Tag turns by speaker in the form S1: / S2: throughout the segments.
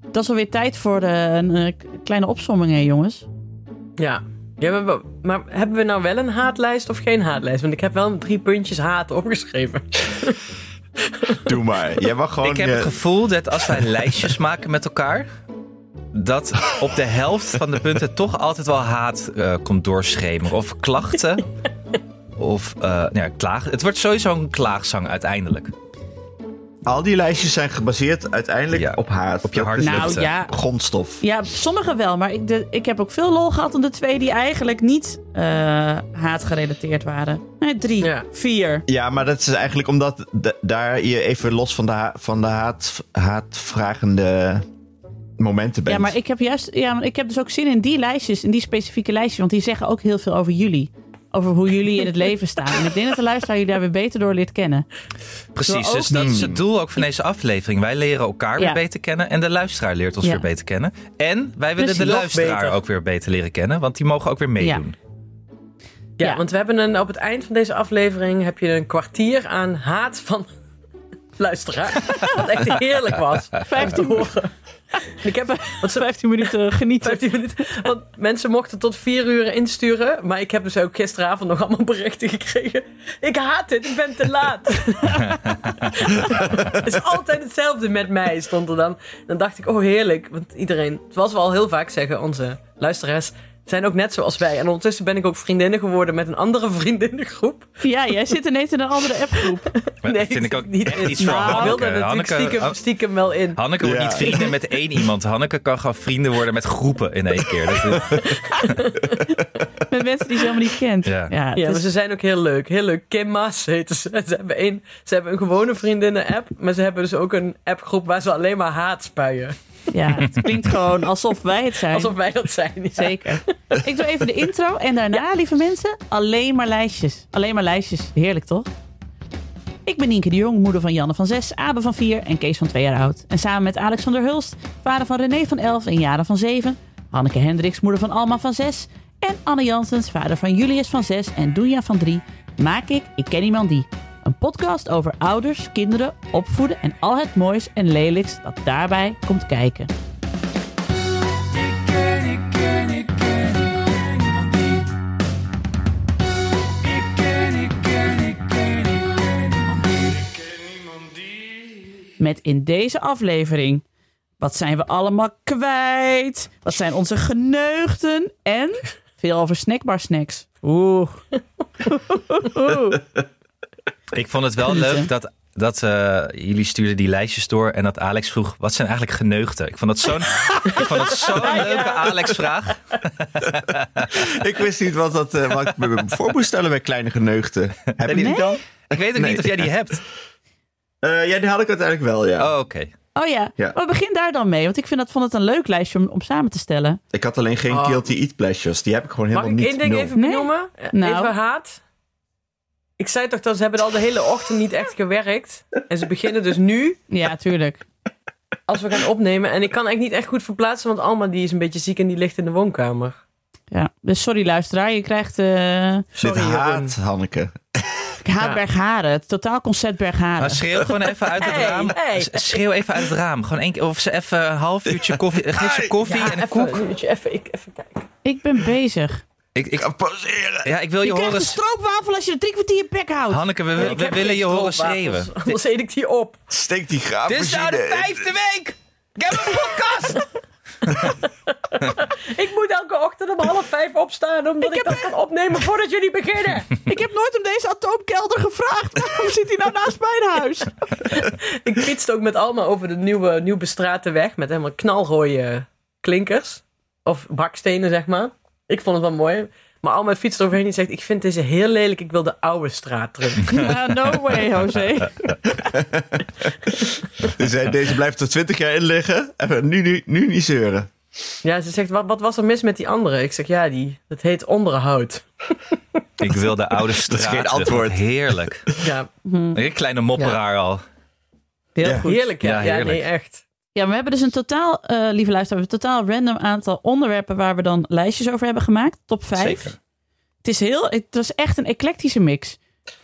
S1: Dat is alweer tijd voor eh, een eh, kleine opsomming, hè, jongens.
S2: Ja. ja maar, wa- maar hebben we nou wel een haatlijst of geen haatlijst? Want ik heb wel drie puntjes haat opgeschreven.
S3: Doe maar. Jij mag gewoon...
S4: Ik heb het
S3: je-
S4: gevoel dat als wij lijstjes maken met elkaar, dat op de helft van de punten toch altijd wel haat eh, komt doorschemeren. Of klachten. Of eh nou ja, klaag. Het wordt sowieso een klaagzang uiteindelijk.
S3: Al die lijstjes zijn gebaseerd uiteindelijk
S4: Ja,
S3: op haat.
S4: op je
S3: Dat
S4: hart.
S3: is
S4: Dus
S1: nou
S4: dat, eh,
S1: ja,
S3: de grondstof.
S1: ja, sommige wel. Maar ik, de, ik heb ook veel lol gehad aan de twee die eigenlijk niet eh, haatgerelateerd waren. Nee, drie,
S2: Ja.
S1: vier.
S3: Ja, maar dat is eigenlijk omdat d- daar je even los van de, ha- van de haat, haatvragende momenten bent.
S1: Ja, maar ik heb juist, ja, maar ik heb dus ook zin in die lijstjes, in die specifieke lijstjes, want die zeggen ook heel veel over jullie. Over hoe jullie in het leven staan. En ik denk dat de luisteraar jullie daar weer beter door leert kennen.
S4: Precies,
S1: Wil
S4: dus dat is het doel ook van deze aflevering. Wij leren elkaar
S1: Ja.
S4: weer beter kennen en de luisteraar leert ons
S1: Ja.
S4: weer beter kennen. En wij willen
S1: Precies.
S4: de
S2: Nog
S4: luisteraar
S2: beter.
S4: ook weer beter leren kennen, want die mogen ook weer meedoen.
S2: Ja,
S1: Ja.
S2: want we hebben een, op het eind van deze aflevering heb je een kwartier aan haat van luisteraar. Wat echt heerlijk was. Te
S1: 15,
S2: horen. Ik heb, want ze,
S1: 15 minuten genieten.
S2: 15 minuten. Want mensen mochten tot 4 uur insturen. Maar ik heb dus ook gisteravond nog allemaal berichten gekregen. Ik haat dit, ik ben te laat. Het is altijd hetzelfde met mij, stond er dan. Dan dacht ik, oh heerlijk. Want iedereen, zoals we al heel vaak zeggen, onze luisteraars zijn ook net zoals wij. En ondertussen ben ik ook vriendinnen geworden met een andere vriendinnengroep.
S1: Ja, jij zit ineens in een andere appgroep.
S4: Maar dat vind ik ook
S2: niet
S4: niet echt
S2: in.
S4: iets voor
S2: Nou, Ik wilde
S4: Hanneke.
S2: natuurlijk
S4: Hanneke,
S2: stiekem, stiekem wel in.
S4: Hanneke wordt
S3: Ja.
S4: niet vrienden met één iemand. Hanneke kan gewoon vrienden worden met groepen in één keer. Dat is-
S1: Met mensen die ze helemaal niet kent.
S4: Ja.
S1: het
S2: Ja,
S1: is-
S2: maar ze zijn ook heel leuk. Heel leuk. Kim Maas heten ze. Ze hebben, één, ze hebben een gewone vriendinnen-app. Maar ze hebben dus ook een appgroep waar ze alleen maar haat spuien.
S1: ja, het klinkt gewoon alsof wij het zijn.
S2: Alsof wij dat zijn. ja.
S1: Zeker. Ik doe even de intro en daarna, lieve mensen, alleen maar lijstjes. Alleen maar lijstjes. Heerlijk, toch? Ik ben Nienke de Jong, moeder van Janne van 6, Abe van 4 en Kees van 2 jaar oud. En samen met Alex van der Hulst, vader van René van 11 en Jara van 7. Hanneke Hendricks, moeder van Alma van 6. En Anne Jansens, vader van Julius van 6 en Doenja van 3. Maak ik Ik Ken Iemand Die. Een podcast over ouders, kinderen, opvoeden en al het moois en lelijks dat daarbij komt kijken. Met in deze aflevering. Wat zijn we allemaal kwijt? Wat zijn onze geneugten? En veel over snackbar snacks. Oeh. Oeh.
S4: ik vond het wel
S1: Genieten.
S4: leuk dat, dat eh, jullie stuurden die lijstjes door en dat Alex vroeg, wat zijn eigenlijk geneugten? Ik vond dat zo'n ik vond dat zo'n leuke Alex-vraag.
S3: Ik wist niet wat, dat, eh, wat ik me voor moest stellen bij kleine geneugten. Heb je die dan?
S4: Ik weet ook
S3: Nee.
S4: niet of jij die hebt.
S3: Eh, ja, die had ik uiteindelijk wel, ja.
S4: Oh, oké.
S1: Oh ja,
S3: Ja.
S1: maar begin daar dan mee. Want ik vind dat, vond het een leuk lijstje om, om samen te stellen.
S3: Ik had alleen geen
S2: Oh.
S3: guilty eat pleasures. Die heb ik gewoon
S2: Mag
S3: helemaal
S2: ik
S3: niet.
S2: één ding
S3: nul.
S2: even
S1: Nee?
S2: benoemen?
S1: Nou.
S2: Even haat. Ik zei toch dat ze hebben al de hele ochtend niet echt gewerkt. En ze beginnen dus nu,
S1: Ja, tuurlijk.
S2: als we gaan opnemen. En ik kan eigenlijk niet echt goed verplaatsen, want Alma die is een beetje ziek en die ligt in de woonkamer.
S1: Ja. Dus sorry luisteraar, je krijgt eh
S3: Dit
S2: Sorry, Jeroen.
S3: haat, Hanneke.
S1: Haatbergharen. Het totaal concept
S4: Maar
S1: Bergharen.
S4: schreeuw gewoon even uit het
S2: Hey,
S4: raam.
S2: hey.
S4: S- Schreeuw even uit het raam. Gewoon één keer, of ze even een half uurtje koffie, geef ze koffie en een
S2: Even,
S4: koek.
S2: moet je even, ik, even kijken.
S1: Ik ben bezig.
S4: Ik, ik,
S3: Kan pauzeren.
S4: ja, ik wil je,
S1: Oh, Je krijgt
S4: horen...
S1: een stroopwafel als je drie kwartier je bek houdt.
S4: Hanneke, we, we
S2: Ik heb
S4: willen je
S2: geen
S4: horen
S2: stroopwafels,
S4: schreeuwen.
S2: Anders eet ik die op.
S3: Steek die graaf.
S4: Dit is nou de vijfde week! Ik heb een podcast!
S2: Ik moet elke ochtend om half vijf opstaan, omdat ik, dat kan opnemen voordat jullie beginnen.
S1: Ik heb nooit om deze atoomkelder gevraagd. Waarom zit hij nou naast mijn huis?
S2: ik fietste ook met Alma over de nieuwe, nieuw bestraatte weg met helemaal knalrooie klinkers. Of bakstenen, zeg maar. Ik vond het wel mooi. Maar Alma fietst overheen en zegt, ik vind deze heel lelijk, ik wil de oude straat terug.
S1: Ja, Nou, no way, José.
S3: Deze blijft er twintig jaar in liggen. En nu, nu, nu niet zeuren.
S2: ja, ze zegt, wat, wat was er mis met die andere? Ik zeg, ja, die, dat heet onderhoud.
S4: Ik wil de oude straat.
S3: geen
S4: terug.
S3: antwoord.
S4: Heerlijk.
S2: Ja,
S4: Een kleine mopperaar al.
S1: Heel
S3: Ja.
S1: goed.
S2: heerlijk, hè?
S4: Ja,
S2: Ja,
S4: heerlijk.
S2: nee, echt.
S1: Ja, we hebben dus een totaal, eh, lieve luisteraar, we hebben een totaal random aantal onderwerpen waar we dan lijstjes over hebben gemaakt. Top 5.
S4: Zeker.
S1: Het is heel, het was echt een eclectische mix.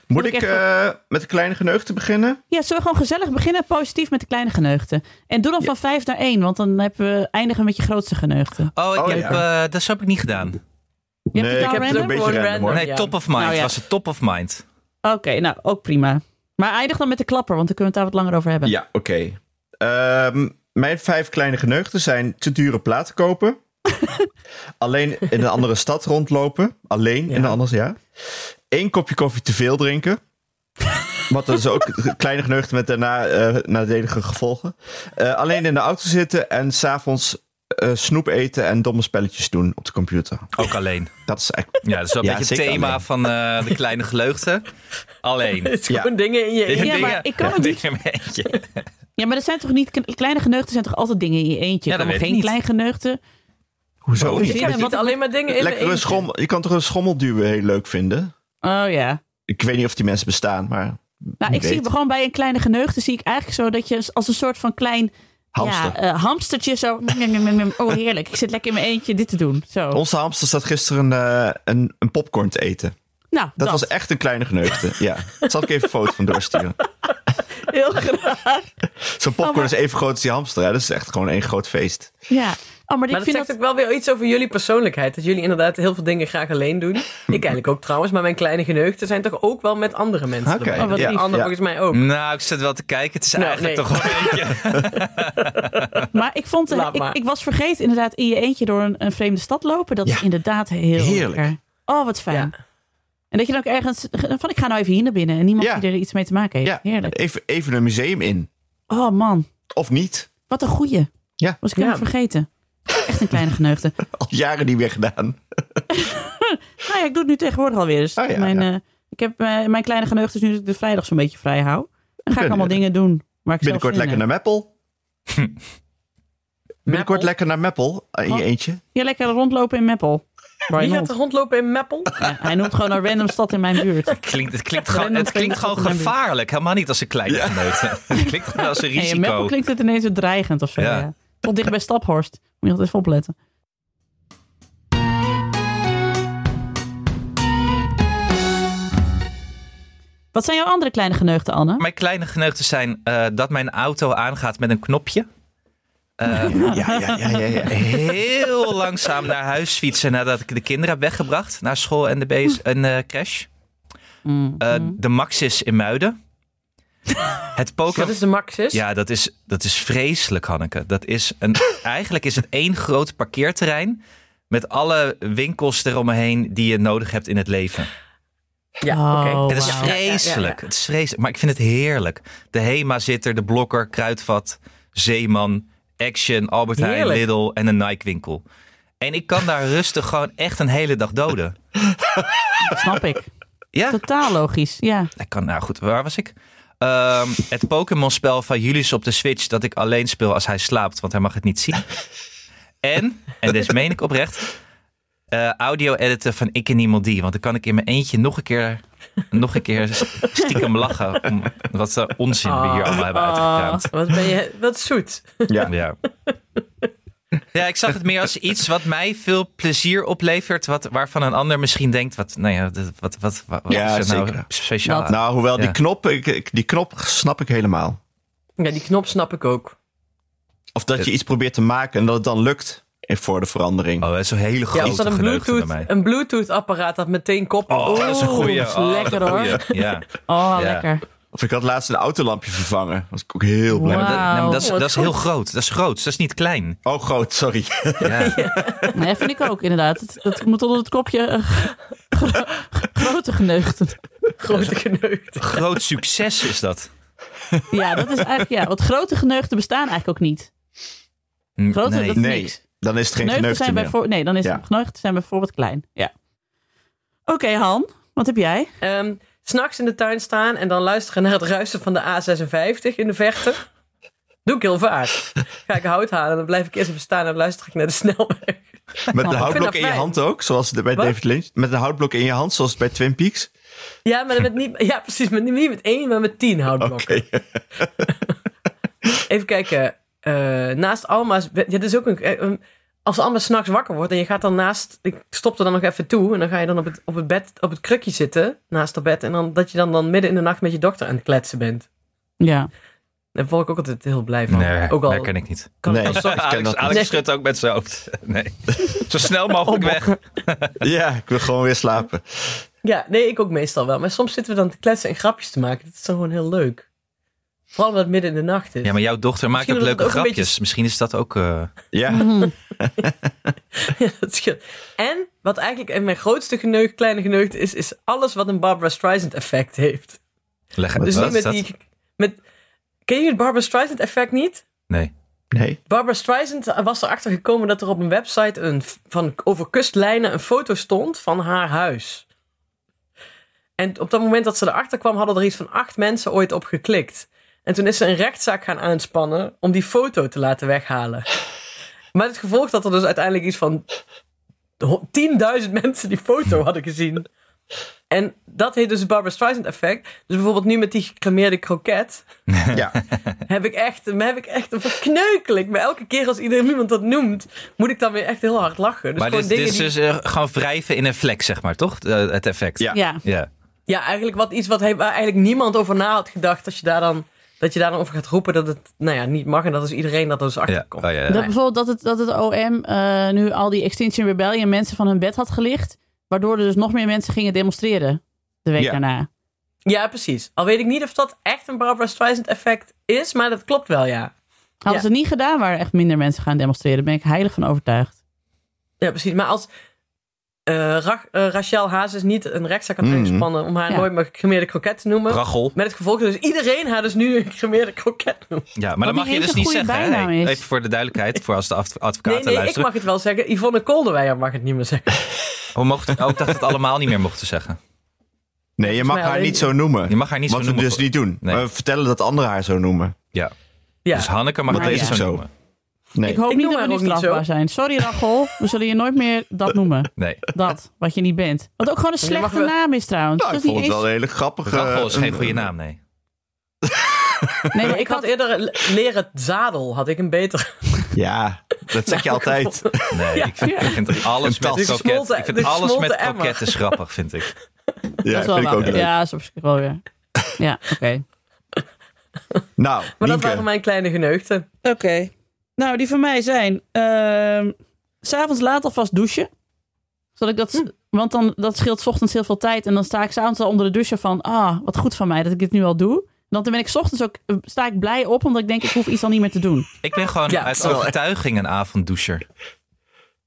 S3: Moet ik
S1: echt
S3: eh, met een kleine geneugte beginnen?
S1: Ja, zullen we gewoon gezellig beginnen, positief met de kleine geneugten. En doe dan van vijf naar één, want dan hebben we, eindigen we met je grootste geneugten.
S4: Oh, ik
S3: Oh,
S4: heb,
S3: ja.
S4: eh, dat heb ik niet
S1: Je
S4: gedaan.
S3: Nee,
S1: hebt
S3: ik
S1: het al
S3: heb het een
S1: random?
S3: beetje
S2: Gewoon
S3: random, hoor.
S2: random.
S4: Nee,
S2: ja.
S4: top of mind.
S1: Nou ja.
S4: Was het top of mind?
S1: Oké, nou ook prima. Maar eindig dan met de klapper, want dan kunnen we het daar wat langer over hebben.
S3: Ja, oké. Ehm, mijn vijf kleine geneugten zijn te dure platen kopen. Alleen in een andere stad rondlopen. Alleen in
S2: Ja.
S3: een ander ja. Eén kopje koffie te veel drinken. Want dat is ook een kleine geneugten met daarna eh, nadelige gevolgen. Eh, alleen in de auto zitten en s'avonds avonds snoep eten en domme spelletjes doen op de computer.
S4: Ook alleen.
S3: Dat is echt...
S4: Ja, dat is wel een
S3: Ja,
S4: beetje het
S3: zeker
S4: thema
S3: alleen.
S4: van eh, de kleine geleugden. Alleen.
S2: Het is gewoon dingen in je
S4: Ja,
S2: eentje.
S1: maar ik kan het niet.
S4: dingen met eentje.
S1: Ja, maar dat zijn toch niet kleine geneugten, zijn toch altijd dingen in je eentje.
S4: Ja, dat
S1: Er komen
S4: weet ik
S1: geen
S4: niet.
S1: klein geneugten.
S3: Hoezo?
S4: Oh,
S3: Je kan
S4: ik
S1: vind
S3: toch
S1: hem
S2: Niet alleen maar dingen in mijn
S3: lekker een
S2: eentje.
S3: schommel, je kan toch een schommelduwen heel leuk vinden?
S1: Oh ja.
S3: Ik weet niet of die mensen bestaan, maar
S1: Nou,
S3: Wie
S1: ik zie
S3: weet.
S1: gewoon bij een kleine geneugte zie ik eigenlijk zo dat je als een soort van klein
S3: hamster.
S1: Ja, eh, hamstertje zo. Oh heerlijk, ik zit lekker in mijn eentje dit te doen. Zo.
S3: Onze hamster zat gisteren eh, een, een popcorn te eten.
S1: nou,
S3: Dat, was echt een kleine geneugte. ja, daar zal ik even een foto van doorsturen.
S1: heel graag.
S3: Zo'n popcorn
S1: Oh, maar-
S3: is even groot als die hamster. Hè? Dat is echt gewoon één groot feest.
S1: Ja. Oh, maar,
S2: Maar
S1: ik
S2: dat
S1: vind
S2: zegt ook wel weer iets over jullie persoonlijkheid. Dat jullie inderdaad heel veel dingen graag alleen doen. Ik eigenlijk ook trouwens, maar mijn kleine geneugten zijn toch ook wel met andere mensen
S3: Oké.
S2: erbij.
S1: Oh, wat
S2: ja,
S1: lief.
S2: anderen
S3: Ja.
S2: volgens mij ook.
S4: Nou, ik zit wel te kijken. Het is
S2: Nou,
S4: eigenlijk
S2: nee.
S4: toch wel een beetje...
S1: Maar ik vond, eh,
S2: Laat
S1: ik,
S2: maar.
S1: ik was vergeten inderdaad in je eentje door een, een vreemde stad lopen. Dat is
S3: Ja.
S1: inderdaad heel
S3: Heerlijk.
S1: lekker. Oh, wat fijn.
S2: Ja.
S1: En dat je dan ook ergens van, ik ga nou even hier naar binnen. En niemand
S3: Ja.
S1: die er iets mee te maken heeft.
S3: Ja,
S1: Heerlijk.
S3: even, even een museum in.
S1: Oh man,
S3: Of niet.
S1: wat een goeie.
S3: Ja.
S1: Was ik helemaal
S2: Ja.
S1: vergeten. Echt een kleine geneugde.
S3: Al jaren niet meer gedaan.
S1: Nou ja, ik doe het nu tegenwoordig alweer. Dus
S3: Oh ja,
S1: mijn,
S3: ja.
S1: eh, ik heb eh, mijn kleine geneugde is nu dat ik de vrijdag zo'n beetje vrij hou. Dan ga ik
S3: kunnen-
S4: eh,
S1: allemaal dingen doen. Waar ik
S3: Binnenkort
S1: zelf
S3: lekker
S1: zin in
S3: naar Meppel. Binnenkort
S2: Meppel?
S3: lekker naar Meppel. eh, In je
S1: Oh.
S3: eentje.
S1: heb. Ja, lekker rondlopen in Meppel. Brian
S2: Wie gaat
S1: Holt.
S2: er rondlopen in Meppel?
S1: Ja, hij noemt gewoon een random stad in mijn buurt.
S4: Klinkt, het klinkt
S1: Random
S4: gewoon,
S1: klinkt
S4: het klinkt gewoon
S1: op een buurt.
S4: gevaarlijk. Helemaal niet als een kleine geneugde. Het klinkt gewoon als een
S1: Nee, in Meppel
S4: risico.
S1: klinkt het ineens zo dreigend of zo.
S4: Ja.
S1: Ja. Tot dicht bij Staphorst. Moet je altijd even opletten. Wat zijn jouw andere kleine geneugten, Anne?
S4: Mijn kleine geneugten zijn eh, dat mijn auto aangaat met een knopje. Eh,
S3: Ja, ja, ja, ja. ja.
S4: heel langzaam naar huis fietsen nadat ik de kinderen heb weggebracht naar school en de base, en, eh, crash.
S1: Mm.
S4: Eh, De Maxis in Muiden. Het
S2: Dat
S4: Pokémon.
S2: is de Maxis.
S4: Ja, dat is, dat is vreselijk, Hanneke. Dat is een, eigenlijk is het één groot parkeerterrein. Met alle winkels eromheen die je nodig hebt in het leven.
S2: Ja, oké.
S1: Oh,
S4: het is
S1: wauw.
S4: vreselijk.
S2: Ja, ja, ja, ja.
S4: Het is vreselijk. Maar ik vind het heerlijk. De Hema zit er, de Blokker, Kruidvat, Zeeman, Action, Albert Heijn,
S2: Heerlijk.
S4: Lidl en een Nike winkel. En ik kan daar rustig gewoon echt een hele dag doden.
S1: Snap ik.
S4: Ja,
S1: Totaal logisch. Ja.
S4: ik kan, nou goed, waar was ik? Ehm, het Pokémon-spel van Julius op de Switch dat ik alleen speel als hij slaapt, want hij mag het niet zien. En, en dit meen ik oprecht, eh, audio editen van Ik en Niemand Die. Want dan kan ik in mijn eentje nog een keer, nog een keer stiekem lachen. Om wat eh, onzin we hier allemaal hebben uitgekraamd.
S2: Wat ben je, wat zoet.
S3: Ja.
S4: Ja. ja, ik zag het meer als iets wat mij veel plezier oplevert. Wat, waarvan een ander misschien denkt, wat, nou ja, dit- wat, wat, wat, wat
S3: Ja,
S4: is er nou
S3: zeker.
S4: speciaal? aan?
S3: Nou, hoewel die
S4: Ja.
S3: knop, ik, ik- die knop snap ik helemaal.
S2: Ja, die knop snap ik ook.
S3: Of dat je iets probeert te maken en dat het dan lukt eh, voor de verandering.
S4: Oh, dat is een hele
S2: Ja,
S4: grote
S2: of dat een
S4: geneugte bij mij.
S2: Bluetooth, een Bluetooth apparaat dat meteen koppelt.
S4: Oh, dat is een goeie.
S1: dat is
S4: Oh, dat is
S1: lekker,
S4: een
S1: hoor.
S4: goeie. Ja.
S1: Oh,
S4: Ja.
S1: lekker.
S3: Of ik had laatst een autolampje vervangen. Was ik ook heel blij.
S4: Nee, maar dat, nee, maar dat is,
S2: Wauw.
S4: dat is heel groot. Dat is groot. Dat is niet klein.
S3: Oh, groot, sorry.
S4: Ja.
S1: Nee, dat vind ik ook inderdaad. Dat, dat moet onder het kopje eh, gro- grote geneugten.
S2: Grote geneugten.
S4: Groot succes is dat.
S1: Ja, dat is eigenlijk, ja. Want grote geneugten bestaan eigenlijk ook niet.
S4: Hm,
S1: Grote,
S4: nee.
S1: dat is
S3: Nee,
S1: niks.
S3: dan is het geen
S1: Geneugten
S3: geneugte
S1: zijn
S3: meer.
S1: bijvoorbeeld, nee, dan is
S3: Ja.
S1: het geneugten zijn bijvoorbeeld klein. Ja. Oké, Han, wat heb jij?
S2: Ehm, S'nachts in de tuin staan en dan luisteren naar het ruisen van de A56 in de verte. Doe ik heel vaak. Ga ik hout halen en dan blijf ik eerst even staan en dan luister ik naar de snelweg.
S3: Met een
S1: Ik
S2: vind
S3: houtblok
S2: dat
S3: in je
S2: fijn.
S3: hand ook, zoals bij
S2: Wat?
S3: David Lynch. Met een houtblok in je hand, zoals bij Twin Peaks.
S2: Ja, maar met niet, ja precies. Maar niet met één, maar met tien houtblokken.
S3: Oké.
S2: Even kijken. eh, naast Alma's... bed- Ja, dit is ook een... eh, een- als Anne s'nachts wakker wordt en je gaat dan naast... Ik stop er dan nog even toe en dan ga je dan op het, op het, bed, op het krukje zitten naast haar bed. En dan, dat je dan, dan midden in de nacht met je dochter aan het kletsen bent.
S1: Ja.
S2: Daar word ik ook altijd heel blij van.
S4: Nee,
S2: ook al
S4: dat ken ik niet.
S2: kan
S3: Nee.
S2: ik wel
S3: ken
S4: Alex,
S3: dat
S4: Alex
S2: niet.
S4: schudt ook met zijn hoofd. Nee. Zo snel mogelijk weg.
S3: Ja, ik wil gewoon weer slapen.
S2: Ja, nee, ik ook meestal wel. Maar soms zitten we dan te kletsen en grapjes te maken. Dat is dan gewoon heel leuk. Vooral omdat het midden in de nacht is.
S4: Ja, maar jouw dochter maakt
S2: Misschien dat
S4: ook leuke
S2: het ook een
S4: grapjes. Misschien is dat ook... eh,
S3: Ja,
S2: Ja, dat scheelt. En wat eigenlijk en mijn grootste geneugd, kleine geneugd is, is alles wat een Barbara Streisand effect heeft.
S4: Leg uit.
S2: Dus
S4: Wat
S2: niet met
S4: is dat?
S2: die. Met, ken je het Barbara Streisand effect niet?
S4: Nee.
S2: dus
S3: nee.
S2: Barbara Streisand was erachter gekomen dat er op een website een, f- van, over kustlijnen een foto stond van haar huis. En op dat moment dat ze erachter kwam, hadden er iets van acht mensen ooit op geklikt. En toen is ze een rechtszaak gaan aanspannen om die foto te laten weghalen. Met het gevolg dat er dus uiteindelijk iets van ho- 10.000 mensen die foto hadden gezien. En dat heet dus het Barbara Streisand effect. Dus bijvoorbeeld nu met die gecremeerde kroket
S3: Ja,
S2: heb ik echt, heb ik echt een verkneukelijk. Maar elke keer als iedereen iemand dat noemt, moet ik dan weer echt heel hard lachen. Dus
S4: maar dit,
S2: gewoon
S4: dit
S2: dingen
S4: is
S2: die-
S4: dus eh, gewoon wrijven in een vlek, zeg maar, toch? Eh, het effect.
S3: Ja.
S1: Ja.
S4: Ja.
S2: Ja, eigenlijk wat, iets wat hij, waar eigenlijk niemand over na had gedacht. Als je daar dan, dat je daar dan over gaat roepen dat het nou ja, niet mag. En dat is iedereen dat er dus
S4: Ja.
S2: achterkomt.
S4: Oh, ja, ja.
S1: Dat bijvoorbeeld dat het, dat het OM eh, nu al die Extinction Rebellion mensen van hun bed had gelicht. Waardoor er dus nog meer mensen gingen demonstreren de week
S3: Ja.
S1: daarna.
S2: Ja, precies. Al weet ik niet of dat echt een Barbara Streisand effect is, maar dat klopt wel, ja.
S1: Hadden
S2: Ja.
S1: ze niet gedaan, waren echt minder mensen gaan demonstreren. Daar ben ik heilig van overtuigd.
S2: Ja, precies. Maar als eh Ra- eh, Rachel Hazes niet een rechtszaak had
S3: Mhm.
S2: aangespannen om haar
S1: Ja.
S2: nooit meer gecremeerde kroket te noemen.
S4: Rachel.
S2: Met het gevolg dat dus iedereen haar dus nu een gecremeerde kroket noemt.
S4: Ja, maar
S1: Want
S4: dat mag
S1: die
S4: je
S1: heeft
S4: dus
S1: een
S4: niet
S1: goede
S4: zeggen. hè?
S1: bijnaam
S4: Hey,
S1: is.
S4: Even voor de duidelijkheid, voor als de adv- advocaten
S2: Nee, nee, ik
S4: luisteren.
S2: mag het wel zeggen. Yvonne Kolderweijer mag het niet meer zeggen.
S4: We mochten ook dat we het allemaal niet meer mochten zeggen.
S3: nee, je mag
S2: mij
S3: haar
S2: alleen-
S3: niet zo noemen.
S4: Je mag haar niet
S3: Wat
S4: zo noemen.
S3: we dus
S4: voor-
S3: niet doen.
S4: Nee.
S3: Maar we vertellen dat anderen haar zo noemen.
S4: Ja.
S2: Ja.
S4: Dus Hanneke mag
S1: Maar
S4: het
S1: ja.
S4: niet zo
S3: Zo.
S4: noemen.
S3: Nee.
S1: Ik hoop
S2: Ik
S1: niet dat
S2: noem
S1: we
S2: haar
S1: niet
S2: ook niet zo.
S1: strafbaar zijn. Sorry Rachel, we zullen je nooit meer dat noemen.
S4: Nee.
S1: Dat, wat je niet bent. Wat ook gewoon een
S2: Je mag
S1: slechte
S2: wel-
S1: naam is trouwens.
S3: Nou,
S1: Dat
S3: ik
S1: is niet
S3: vond het
S1: eens-
S3: wel een hele grappige... eh,
S4: Rachel is geen
S3: een-
S4: goede naam, nee.
S1: Nee,
S2: Maar
S1: maar
S2: ik had eerder le- leren zadel, had ik een beter.
S3: Ja, dat zeg je altijd.
S4: Nee, ik vind, ik vind alles
S3: Een tas.
S4: met
S3: De
S4: kroket.
S2: gesmolten-
S4: Ik
S2: de
S4: vind alles met
S2: gesmolten emmer.
S4: kroket is grappig, vind ik.
S3: Ja,
S1: dat is wel
S3: vind ik
S1: waar.
S3: ook leuk.
S1: Ja, dat is op zich wel weer. Ja, oké.
S2: Maar
S3: Nou,
S2: dat
S3: Nienke.
S2: waren mijn kleine geneugten.
S1: Oké. Nou, die van mij zijn... ehm, s S'avonds laat alvast douchen. Zodat ik dat, Want dan, dat scheelt 's ochtends heel veel tijd. En dan sta ik s'avonds al onder de douche van... Ah, wat goed van mij dat ik dit nu al doe. Dan ben ik 's ochtends ook, eh, sta ik blij op, omdat ik denk, ik hoef iets al niet meer te doen.
S4: Ik ben gewoon
S2: Ja,
S4: uit
S2: dat is wel
S4: overtuiging een avonddoucher.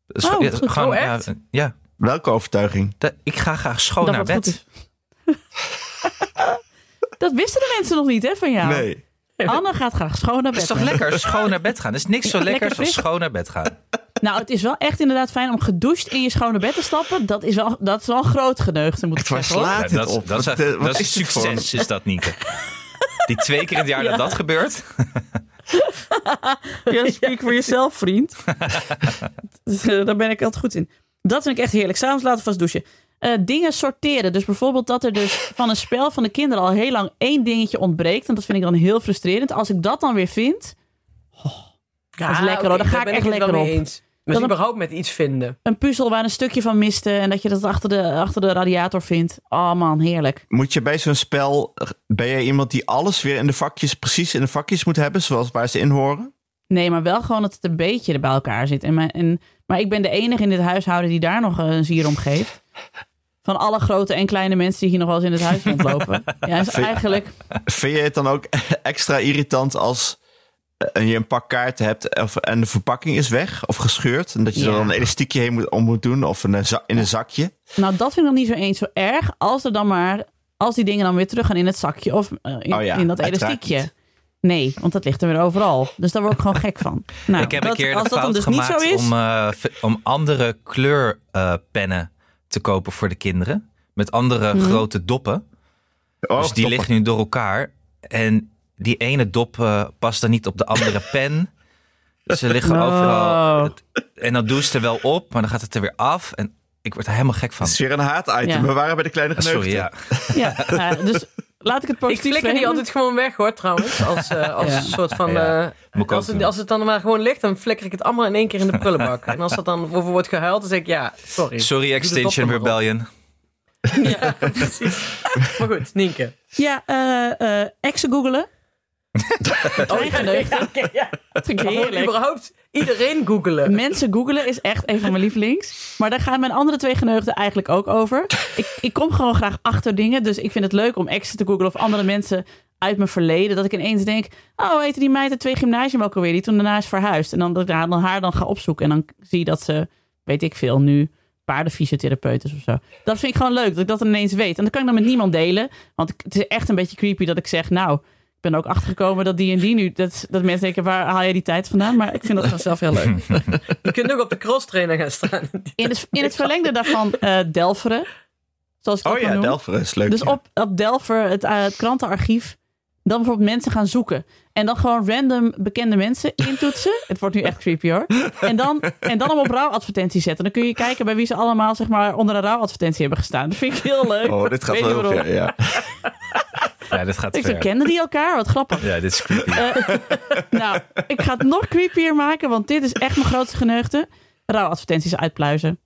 S4: Dus
S1: Oh,
S4: ja,
S1: goed.
S2: Oh,
S4: ja,
S2: echt?
S4: ja.
S3: Welke overtuiging?
S4: Dat- ik ga graag schoon
S1: dat
S4: naar
S1: wat goed
S4: bed.
S1: is. dat wisten de mensen nog niet, hè, van jou?
S3: Nee.
S1: Anne gaat graag schoon naar
S4: Het
S1: bed.
S4: is toch lekker schoon naar bed gaan? Er is niks zo
S1: Lekker
S4: lekkers als
S1: fris.
S4: schoon naar bed gaan.
S1: Nou, het is wel echt inderdaad fijn om gedoucht in je schone bed te stappen. Dat is wel, dat is wel een groot geneugde, moet ik
S3: Het was
S1: zeggen. hoor.
S3: laat.
S4: Ja,
S3: Gaat dit
S4: dat,
S3: op?
S4: dat is,
S3: Wat,
S4: echt-
S3: eh, wat
S4: dat is
S3: is dit voor een-
S4: succes, is dat, Nienke? Die twee keer in het jaar
S1: Ja.
S4: dat dat gebeurt.
S1: Ja, speak voor jezelf, vriend. Dus, eh, Daar ben ik altijd goed in. Dat vind ik echt heerlijk. S'avonds laten vast douchen. Eh, dingen sorteren. Dus bijvoorbeeld dat er dus van een spel van de kinderen al heel lang één dingetje ontbreekt. En dat vind ik dan heel frustrerend. Als ik dat dan weer vind,
S2: Ja,
S1: Dat is lekker, hoor. Daar ga ik
S2: ben
S1: echt
S2: het wel
S1: lekker
S2: mee
S1: op.
S2: eens. Maar
S1: Dan-
S2: überhaupt met iets vinden.
S1: een puzzel waar een stukje van miste. En dat je dat achter de, achter de radiator vindt. Oh man, heerlijk.
S3: Moet je bij zo'n spel... Ben jij iemand die alles weer in de vakjes... Precies in de vakjes moet hebben, zoals waar ze in horen?
S1: Nee, maar wel gewoon dat het een beetje er bij elkaar zit. En mijn, en, maar ik ben de enige in dit huishouden die daar nog eh, een zier om geeft. Van alle grote en kleine mensen die hier nog wel eens in het huis rondlopen. Ja, is eigenlijk
S3: Vind je het dan ook extra irritant als eh, je een pak kaarten hebt of, en de verpakking is weg of gescheurd? En dat je
S1: Ja.
S3: er dan een elastiekje heen moet, om moet doen of een, eh, za- in een zakje?
S1: Nou, dat vind ik dan niet zo eens zo erg. Als er dan maar, als die dingen dan weer terug gaan in het zakje of eh, in,
S3: Oh ja,
S1: in dat
S3: uiteraard
S1: elastiekje.
S3: niet.
S1: Nee, want dat ligt er weer overal. Dus daar word ik gewoon gek van. Nou,
S4: ik heb
S1: dat-
S4: een keer de
S1: als dat dan
S4: fout
S1: dus niet
S4: gemaakt
S1: zo is.
S4: om, eh, v- om andere kleurpennen eh, te kopen voor de kinderen. Met andere
S1: Mhm.
S4: grote doppen.
S3: Oh,
S4: dus die
S3: top.
S4: ligt nu door elkaar. En die ene dop eh, past dan niet op de andere pen. Dus ze liggen
S1: Oh.
S4: overal. Het- En dan doen ze er wel op, maar dan gaat het er weer af. En ik word er helemaal gek van. eh.
S3: Het is weer een haat-item.
S1: Ja.
S3: We waren bij de kleine geneugten.
S4: Sorry, ja.
S1: Ja, nou, dus Laat ik het
S2: Ik
S1: positief
S2: flikker die
S1: framen.
S2: altijd gewoon weg hoor, trouwens. Als, eh, als
S1: Ja.
S2: een soort van...
S4: Ja.
S2: eh,
S4: Moet ik
S2: als,
S4: ook
S2: het,
S4: doen.
S2: als het dan maar gewoon ligt, dan flikker ik het allemaal in één keer in de prullenbak. en als dat dan over wordt gehuild, dan zeg ik ja, sorry.
S4: Sorry, Extinction
S2: maar op.
S4: Rebellion.
S2: Ja, precies. maar goed, Nienke.
S1: Ja, eh eh exen googelen.
S2: Oh, ja, nee.
S1: Dat vind ik
S2: Maar gewoon
S1: heerlijk.
S2: überhaupt iedereen googelen.
S1: Mensen googelen is echt een van mijn lievelings. Maar daar gaan mijn andere twee geneugden eigenlijk ook over. Ik, ik kom gewoon graag achter dingen. Dus ik vind het leuk om exen te googelen of andere mensen uit mijn verleden. Dat ik ineens denk, oh, hoe heette die meid uit twee gymnasium ook alweer? Die toen daarna is verhuisd. En dan dat ik haar dan, haar dan ga opzoeken. En dan zie je dat ze, weet ik veel, nu paardenfysiotherapeut is of zo. Dat vind ik gewoon leuk, dat ik dat dan ineens weet. En dat kan ik dan met niemand delen. Want ik- het is echt een beetje creepy dat ik zeg, nou... Ik ben er ook achtergekomen dat die en die nu... Dat, dat mensen denken, waar haal je die tijd vandaan? Maar ik vind dat gewoon zelf heel leuk.
S2: Je kunt ook op de cross trainer gaan staan.
S1: In het, in het verlengde daarvan eh Delveren. Zoals ik het
S3: Oh
S1: ook wel
S3: ja,
S1: noem.
S3: Delver is leuk.
S1: Dus
S3: ja.
S1: op, op Delver, het, eh, het krantenarchief. Dan bijvoorbeeld mensen gaan zoeken. En dan gewoon random bekende mensen intoetsen. Het wordt nu echt creepy hoor. En dan, en dan hem op rouwadvertentie zetten. Dan kun je kijken bij wie ze allemaal zeg maar, onder een rouwadvertentie hebben gestaan. Dat vind ik heel leuk.
S3: Oh, dit gaat
S1: Weet je
S3: wel heel
S1: waarom?
S3: ver, ja.
S4: Ja, dit gaat
S1: Ik zo,
S4: ver.
S1: kenden die elkaar? Wat grappig.
S4: Ja, dit is creepy.
S1: Nou, ik ga het nog creepier maken, want dit is echt mijn grootste geneugde. Rouwadvertenties uitpluizen.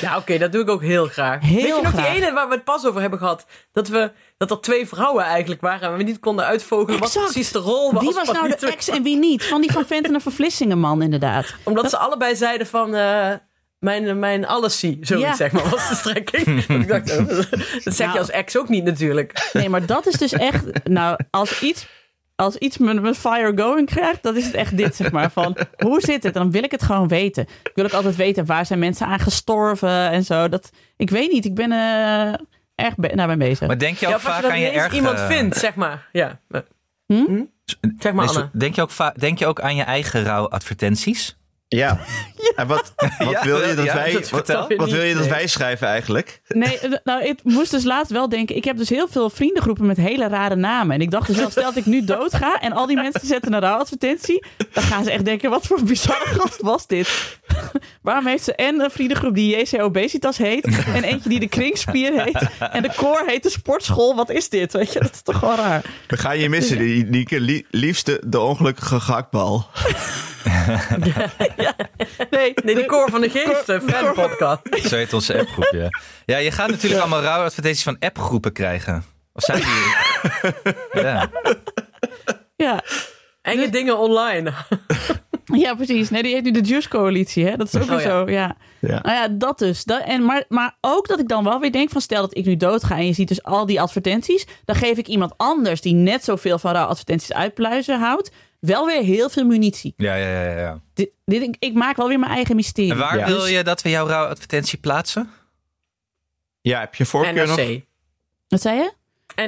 S2: Ja, oké, dat doe ik ook heel graag.
S1: Heel
S2: Weet je nog
S1: graag.
S2: die ene waar we het pas over hebben gehad? Dat, we, dat er twee vrouwen eigenlijk waren en we niet konden uitvogelen wat
S1: Exact.
S2: precies de rol was.
S1: Wie was
S2: van
S1: nou
S2: die
S1: de
S2: twee
S1: ex en wie niet? Van die van Venten en Vervlissingen man inderdaad.
S2: Omdat ze allebei zeiden van... eh, mijn, mijn alles zie, zoiets
S1: Ja.
S2: zeg maar, was de strekking. Dat ik dacht, oh, dat zeg je
S1: Nou.
S2: als ex ook niet natuurlijk.
S1: Nee, maar dat is dus echt. Nou, als iets, als iets me, me fire going krijgt, dat is het echt dit, zeg maar. Van hoe zit het? Dan wil ik het gewoon weten. Ik wil ook altijd weten waar zijn mensen aan gestorven en zo. Dat, ik weet niet, ik ben eh, erg be- naar mij bezig.
S4: Maar denk je ook
S2: Ja, of als je
S4: vaak
S2: dan
S4: aan je
S2: ineens
S4: erg...
S2: iemand
S4: eh,
S2: vindt, zeg maar. Ja. Hm? Zeg maar,
S4: nee, zo-
S2: Anne.
S4: denk, je ook va- denk je ook aan je eigen rouwadvertenties?
S3: Ja. En wat, wat
S4: Ja,
S3: wil je dat
S4: ja,
S3: wij...
S4: dat
S3: wat,
S4: vertel.
S3: wat wil je dat
S2: Nee.
S3: wij schrijven eigenlijk?
S1: Nee, eh, nou, ik moest dus laatst wel denken. Ik heb dus heel veel vriendengroepen met hele rare namen. En ik dacht dus wel, stel dat ik nu doodga en al die mensen zetten een rouwadvertentie. Dan gaan ze echt denken, wat voor bizarre gast was dit? Waarom heeft ze en een vriendengroep die JC Obesitas heet... en eentje die de Kringspier heet... en de Koor heet de Sportschool. Wat is dit? Weet je, dat is toch wel raar.
S3: We gaan je missen, die- Nieke. Lie- Liefste de ongelukkige gehaktbal.
S1: Nee,
S2: Nee, de koor van de eh, geesten, fan podcast.
S4: Zo heet onze appgroep, ja. Ja, je gaat natuurlijk allemaal rouwadvertenties van appgroepen krijgen. Of zijn die... ja.
S1: ja,
S2: Enge dingen online.
S1: ja, precies. Nee, die heet nu de Juice Coalitie. Hè? Dat is ook weer
S2: Oh, ja.
S1: zo, ja.
S3: Ja.
S1: Nou ja, dat dus. Dat, en, maar, maar ook dat ik dan wel weer denk van stel dat ik nu doodga en je ziet dus al die advertenties. Dan geef ik iemand anders die net zoveel van rauw advertenties uitpluizen houdt. Wel weer heel veel munitie.
S4: Ja, ja, ja, ja, ja.
S1: Dit, dit, ik, ik maak wel weer mijn eigen mysterie.
S4: En waar
S3: Ja.
S4: wil je dat we jouw rouwadvertentie plaatsen?
S3: ja, heb je voorkeur nog?
S2: NRC.
S1: Wat zei je?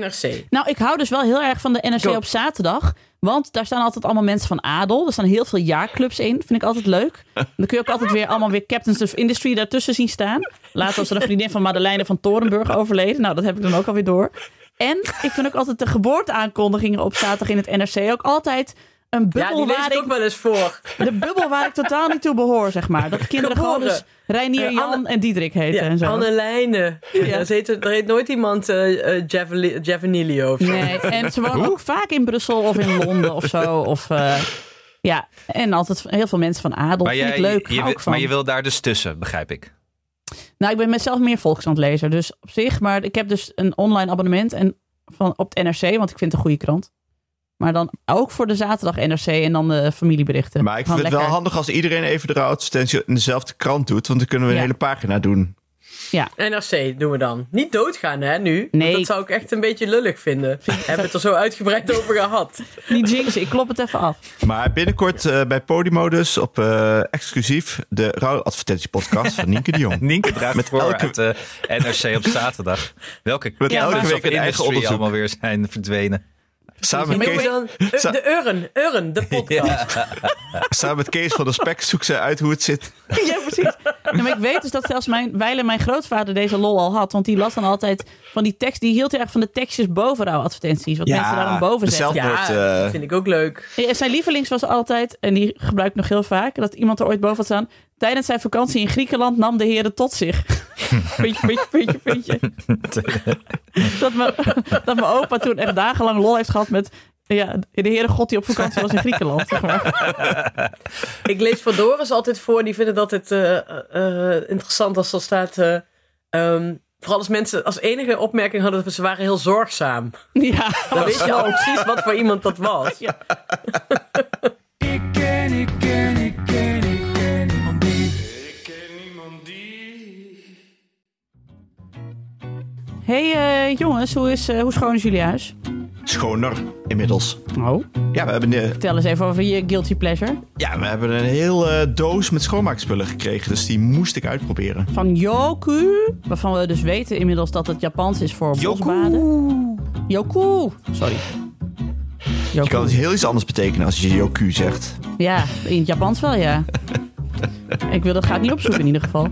S2: NRC.
S1: Nou, ik hou dus wel heel erg van de NRC
S2: Go.
S1: op zaterdag. Want daar staan altijd allemaal mensen van adel. Er staan heel veel jaarclubs in. Vind ik altijd leuk. Dan kun je ook altijd weer allemaal weer Captains of Industry daartussen zien staan. Laatst was er een vriendin van Madeleine van Torenburg overleden. Nou, dat heb ik dan ook alweer door. En ik vind ook altijd de geboorteaankondigingen op zaterdag in het NRC ook altijd een
S2: Ja,
S1: bubbel
S2: die lees
S1: waar
S2: ik ook
S1: ik,
S2: wel eens voor.
S1: de bubbel waar ik totaal niet toe behoor, zeg maar. Dat kinderen gewoon
S2: Geboren.
S1: dus Reinier,
S2: Eh,
S1: Jan
S2: Anne-
S1: en Diederik heten en zo.
S2: Annelijne.
S1: Ja.
S2: Ja. dat heet- Er heet nooit iemand eh eh, Javeli- Javanilio of zo.
S1: Nee, en ze wonen ook vaak in Brussel of in Londen of zo. Of, eh, ja, en altijd heel veel mensen van adel. vind ik leuk.
S4: je,
S1: hou
S4: wil-
S1: ik van.
S4: maar je wil daar dus tussen, begrijp ik.
S1: Nou, ik ben mezelf meer volkskrantlezer. Dus op zich, maar ik heb dus een online abonnement en van, op het NRC, want ik vind het een goede krant. Maar dan ook voor de zaterdag NRC en dan de familieberichten.
S3: Maar ik vind
S1: Gewoon
S3: het wel
S1: lekker.
S3: handig als iedereen even de rouwadvertentie in dezelfde krant doet. Want dan kunnen we een
S1: Ja.
S3: hele pagina doen.
S2: NRC doen we dan. Niet doodgaan, hè, nu. Want
S1: Nee.
S2: Dat zou ik echt een beetje lullig vinden. Hebben we het er zo uitgebreid over gehad.
S1: Niet jinxen, ik klop het even af.
S3: Maar binnenkort eh, bij Podimo dus op eh, exclusief de rouwadvertentiepodcast van Nienke de Jong.
S4: Nienke draagt
S3: Met
S4: voor
S3: elke-
S4: uit eh, de NRC op zaterdag. Welke
S3: Met
S1: elke
S4: killers
S3: week
S4: of
S3: een eigen
S4: industry
S3: onderzoek.
S4: allemaal weer zijn verdwenen.
S3: Samen
S2: Maar
S3: met
S2: hoe
S3: Kees,
S2: dan? Eh,
S3: Sa-
S2: De Urn, Urn, de podcast.
S3: samen met Kees van der Spek zoekt zij uit hoe het zit.
S1: ja, precies. Nee, maar ik weet dus dat zelfs mijn, wijlen mijn grootvader deze lol al had. Want die las dan altijd van die tekst. Die hield heel erg van de tekstjes boven advertenties. Wat mensen daar dan boven
S3: de
S1: zetten.
S3: zelfmoord,
S2: Ja,
S3: eh,
S2: dat vind ik ook leuk.
S1: Ja, Zijn lievelings was altijd, en die gebruik ik nog heel vaak, dat iemand er ooit boven had staan. Tijdens zijn vakantie in Griekenland nam de heren tot zich. puntje, puntje, puntje, puntje. dat, mijn, dat mijn opa toen echt dagenlang lol heeft gehad met ja, de heren God die op vakantie was in Griekenland. Zeg maar.
S2: Ik lees voor Doris altijd voor. Die vinden dat het eh, eh, eh, interessant als er staat... eh, ehm, vooral als mensen als enige opmerking hadden... dat ze waren heel zorgzaam.
S1: Ja,
S2: Dan weet je al precies wat voor iemand dat was.
S1: Ja.
S5: Ik ken, ik ken, ik ken, ik ken niemand die.
S6: Ik ken niemand die.
S1: hey, eh, jongens, hoe, is, eh, hoe schoon is jullie huis?
S3: schoner inmiddels.
S1: Oh.
S3: Ja, we hebben, eh,
S1: Vertel eens even over je guilty pleasure.
S3: ja, we hebben een heel eh, doos met schoonmaakspullen gekregen. Dus die moest ik uitproberen.
S1: Van Yoku, waarvan we dus weten inmiddels dat het Japans is voor
S4: Yoku.
S1: bosbaden. Yoku. Sorry. Yoku.
S3: Je kan het heel iets anders betekenen als je Yoku zegt.
S1: Ja, in het Japans wel, ja. ik wil dat gaat niet opzoeken in ieder geval.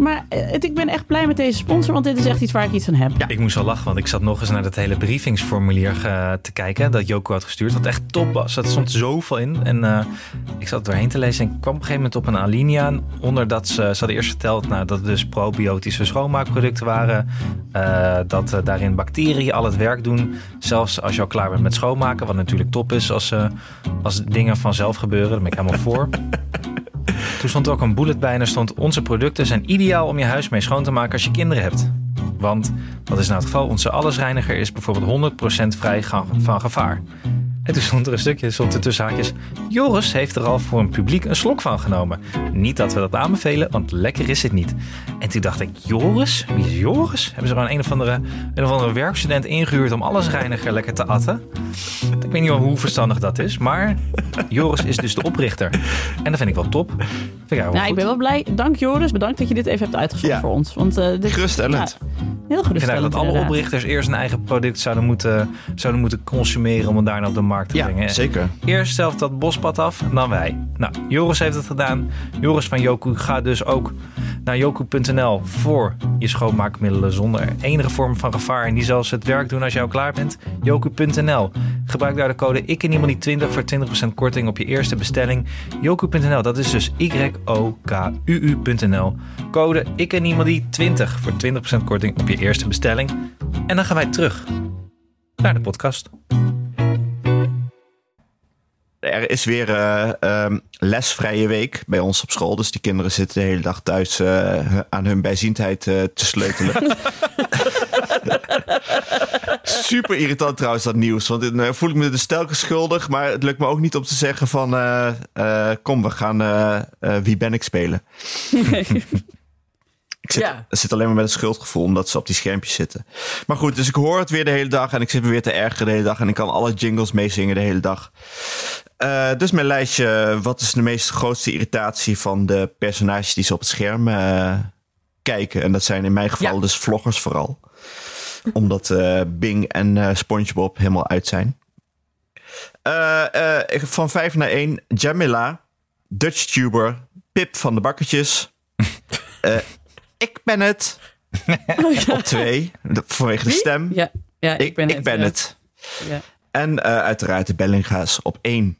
S1: Maar eh, het, ik ben echt blij met deze sponsor, want dit is echt iets waar ik iets aan heb.
S4: Ik moest wel lachen, want ik zat nog eens naar dat hele briefingsformulier eh, te kijken. Dat Joko had gestuurd. Wat echt top was. Er stond zoveel in. En eh, ik zat doorheen te lezen. En ik kwam op een gegeven moment op een alinea. Onder dat ze, ze hadden eerst verteld nou, dat het dus probiotische schoonmaakproducten waren. eh, dat eh, daarin bacteriën al het werk doen. Zelfs als je al klaar bent met schoonmaken. Wat natuurlijk top is als, eh, als dingen vanzelf gebeuren. Daar ben ik helemaal voor. Toen stond er ook een bullet bij en er stond... Onze producten zijn ideaal om je huis mee schoon te maken als je kinderen hebt. Want wat is nou het geval? Onze allesreiniger is bijvoorbeeld 100% vrij ga- van gevaar. En toen stond er een stukje, stond er tussen haakjes... Joris heeft er al voor een publiek een slok van genomen. Niet dat we dat aanbevelen, want lekker is het niet. En toen dacht ik, Joris? Wie is Joris? Hebben ze gewoon een of andere, een of andere werkstudent ingehuurd... om allesreiniger lekker te atten? Ik weet niet wel hoe verstandig dat is, maar... Joris is dus de oprichter. En dat vind ik wel top. Vind ik eigenlijk wel
S1: Nou, ik
S4: goed.
S1: ben wel blij. Dank Joris, bedankt dat je dit even hebt uitgezocht
S3: Ja.
S1: voor ons. Want, eh dit,
S3: Geruststellend.
S1: Ja, heel
S4: Ik vind
S1: geruststellend.
S4: eigenlijk dat alle
S1: inderdaad.
S4: oprichters eerst een eigen product zouden moeten, zouden moeten consumeren om het daarna op de markt te brengen.
S3: Ja, zeker.
S4: Eerst zelf dat bospad af, dan wij. Nou, Joris heeft het gedaan. Joris van Joku gaat dus ook naar joku.nl voor je schoonmaakmiddelen zonder enige vorm van gevaar. En die zal ze het werk doen als jij al klaar bent. Joku.nl. Gebruik daar de code ik en iemand die 20 voor 20% korting op je eerste bestelling. Joku.nl, dat is dus Y-O-K-U-U.nl. Code ik en iemand die 20 voor 20% korting op je eerste bestelling. En dan gaan wij terug naar de podcast.
S3: Er is weer eh, ehm, lesvrije week bij ons op school. Dus die kinderen zitten de hele dag thuis eh, aan hun bijziendheid eh, te sleutelen. Super irritant trouwens dat nieuws. Want dan eh, voel ik me dus telkens schuldig. Maar het lukt me ook niet om te zeggen van... eh, eh, kom, we gaan eh, eh, Wie ben ik spelen. Ik zit,
S2: Ja.
S3: zit alleen maar met een schuldgevoel omdat ze op die schermpjes zitten. Maar goed, dus ik hoor het weer de hele dag en ik zit me weer te ergeren de hele dag. En ik kan alle jingles meezingen de hele dag. Eh, dus mijn lijstje, wat is de meest grootste irritatie van de personages die ze op het scherm eh, kijken? En dat zijn in mijn geval
S2: Ja.
S3: dus vloggers vooral. Omdat eh, Bing en eh, Spongebob helemaal uit zijn. Eh, eh, van 5 naar 1, Jamila, Dutchtuber, Pip van de Bakketjes. Eh, ik ben het. Op twee, de- vanwege de stem.
S1: Ja, ja, ik, ben, het, ja.
S3: het.
S1: Ja.
S3: En eh, uiteraard de Bellinga's op één.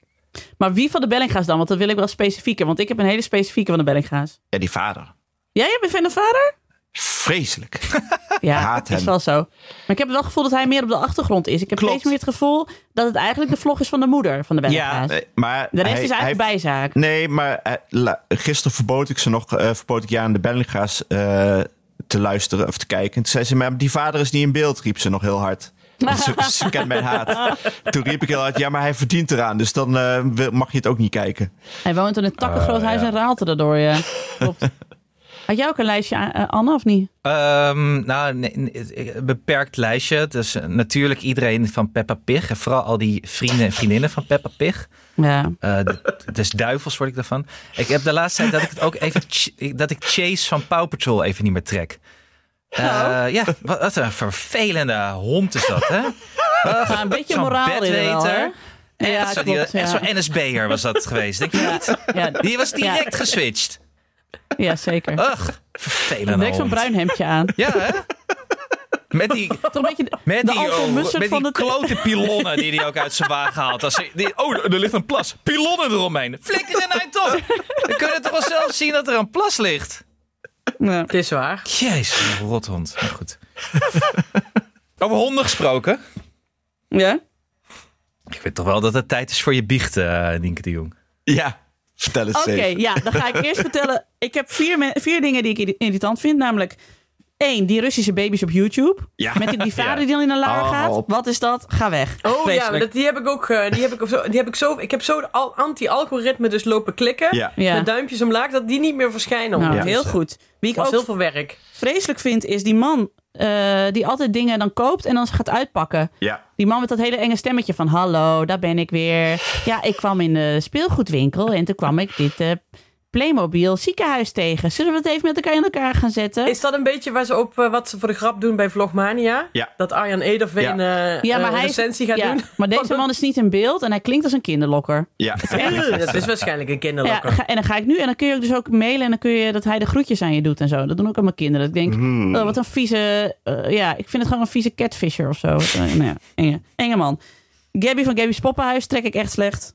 S1: Maar wie van de Bellinga's dan? Want dat wil ik wel specifieker. Want ik heb een hele specifieke van de Bellinga's.
S3: Ja, die vader.
S1: Jij bent fan van vader?
S3: Vreselijk.
S1: Ja,
S3: Haat
S1: dat is
S3: hem.
S1: wel zo. Maar ik heb wel het gevoel dat hij meer op de achtergrond is. Ik heb
S3: Klopt.
S1: steeds meer het gevoel dat het eigenlijk de vlog is van de moeder van de Bellinga's.
S3: Eh, maar
S1: de rest
S3: hij-
S1: is eigenlijk
S3: hij-
S1: bijzaak.
S3: Nee, maar eh, la- gisteren verbood ik ze nog, eh, verbood ik ja aan de Bellinga's eh, te luisteren of te kijken. En toen zei ze, maar die vader is niet in beeld, riep ze nog heel hard. Want Ze, ze kent mijn haat. Toen riep ik heel hard, ja, maar hij verdient eraan. Dus dan eh, wil- mag je het ook niet kijken.
S1: Hij woont in een takkengroot
S4: Ah,
S1: huis
S3: Oh,
S4: ja.
S1: en raalte daardoor. Ja. Klopt. Had jij ook een lijstje, eh, Anne, of niet?
S4: Ehm, nou, nee, nee, het- een beperkt lijstje. Dus eh, natuurlijk iedereen van Peppa Pig. En vooral al die vrienden en vriendinnen van Peppa Pig.
S1: Ja.
S4: Eh, de- dus duivels word ik daarvan. Ik heb de laatste tijd dat ik het ook even... ch- ik- dat ik Chase van Paw Patrol even niet meer trek. Eh,
S1: Oh.
S4: Ja, wat, wat een vervelende hond is dat, hè?
S1: Maar een beetje
S4: Zo'n
S1: moraal in wel, hè?
S4: bedweter.
S1: Ja,
S4: echt zo- die-
S1: klopt, ja.
S4: echt zo'n NSB'er was dat geweest. Denk je niet?
S1: Ja,
S4: Die Oh. was direct
S1: Ja.
S4: geswitcht.
S1: Ja, zeker.
S4: Ugh, vervelend.
S1: Direct zo'n bruin hemdje aan.
S4: Ja, hè? Met die,
S1: Toch een beetje de,
S4: met
S1: de
S4: die,
S1: Anton
S4: oh,
S1: Mussert
S4: met
S1: van
S4: die
S1: de...
S4: klote pilonnen die hij ook uit zijn wagen haalt. Als hij- die, oh, er ligt een plas. Pilonnen eromheen. Flikker in uit op. Dan kun je toch wel zelf zien dat er een plas ligt.
S1: Ja.
S2: Het is waar.
S4: Jezus, een rothond. Maar goed. Over honden gesproken.
S1: Ja?
S4: Ik weet toch wel dat het tijd is voor je biechten, Nienke de Jong.
S3: Ja, vertel eens
S1: Oké,
S3: even.
S1: ja, dan ga ik eerst vertellen. Ik heb vier, me- vier dingen die ik irri- irritant vind. Namelijk, één, die Russische baby's op YouTube.
S3: Ja.
S1: Met die, die vader die
S4: Ja.
S1: dan in een laar
S3: Hou
S1: gaat.
S3: op.
S1: Wat is dat? Ga weg.
S2: Oh ja,
S1: Vreselijk.
S2: maar dat, die heb ik ook. eh, Die heb ik, op zo, die heb ik zo. Ik heb zo de al- anti-algoritme dus lopen klikken.
S3: Ja.
S1: Ja.
S2: Met duimpjes omlaag, dat die niet meer verschijnen.
S1: Nou,
S3: Ja.
S1: heel goed. Wie ik
S2: was
S1: ook
S2: heel veel werk.
S1: vreselijk vind, is die man eh, die altijd dingen dan koopt en dan gaat uitpakken.
S3: Ja.
S1: Die man met dat hele enge stemmetje van... Hallo, daar ben ik weer. Ja, ik kwam in de speelgoedwinkel en toen kwam ik dit eh, Playmobil ziekenhuis tegen. Zullen we het even met elkaar in elkaar gaan zetten?
S2: Is dat een beetje waar ze op eh, wat ze voor de grap doen bij Vlogmania?
S3: Ja.
S2: Dat Arjan Ederveen eh
S1: Ja, maar
S2: eh,
S1: hij is-
S2: recensie gaat
S1: ja,
S2: doen?
S1: Maar deze man is niet in beeld en hij klinkt als een kinderlokker.
S3: Ja.
S2: Eh, Dat is waarschijnlijk een
S1: Ja,
S2: kinderlokker.
S1: ga- en dan ga ik nu en dan kun je ook dus ook mailen en dan kun je dat hij de groetjes aan je doet en zo. Dat doen ook allemaal kinderen. Dat ik denk,
S3: Hmm.
S1: oh, wat een vieze, eh, ja, ik vind het gewoon een vieze catfisher of zo. Eh, nou ja, enge, enge man. Gabby van Gabby's Poppenhuis trek ik echt slecht.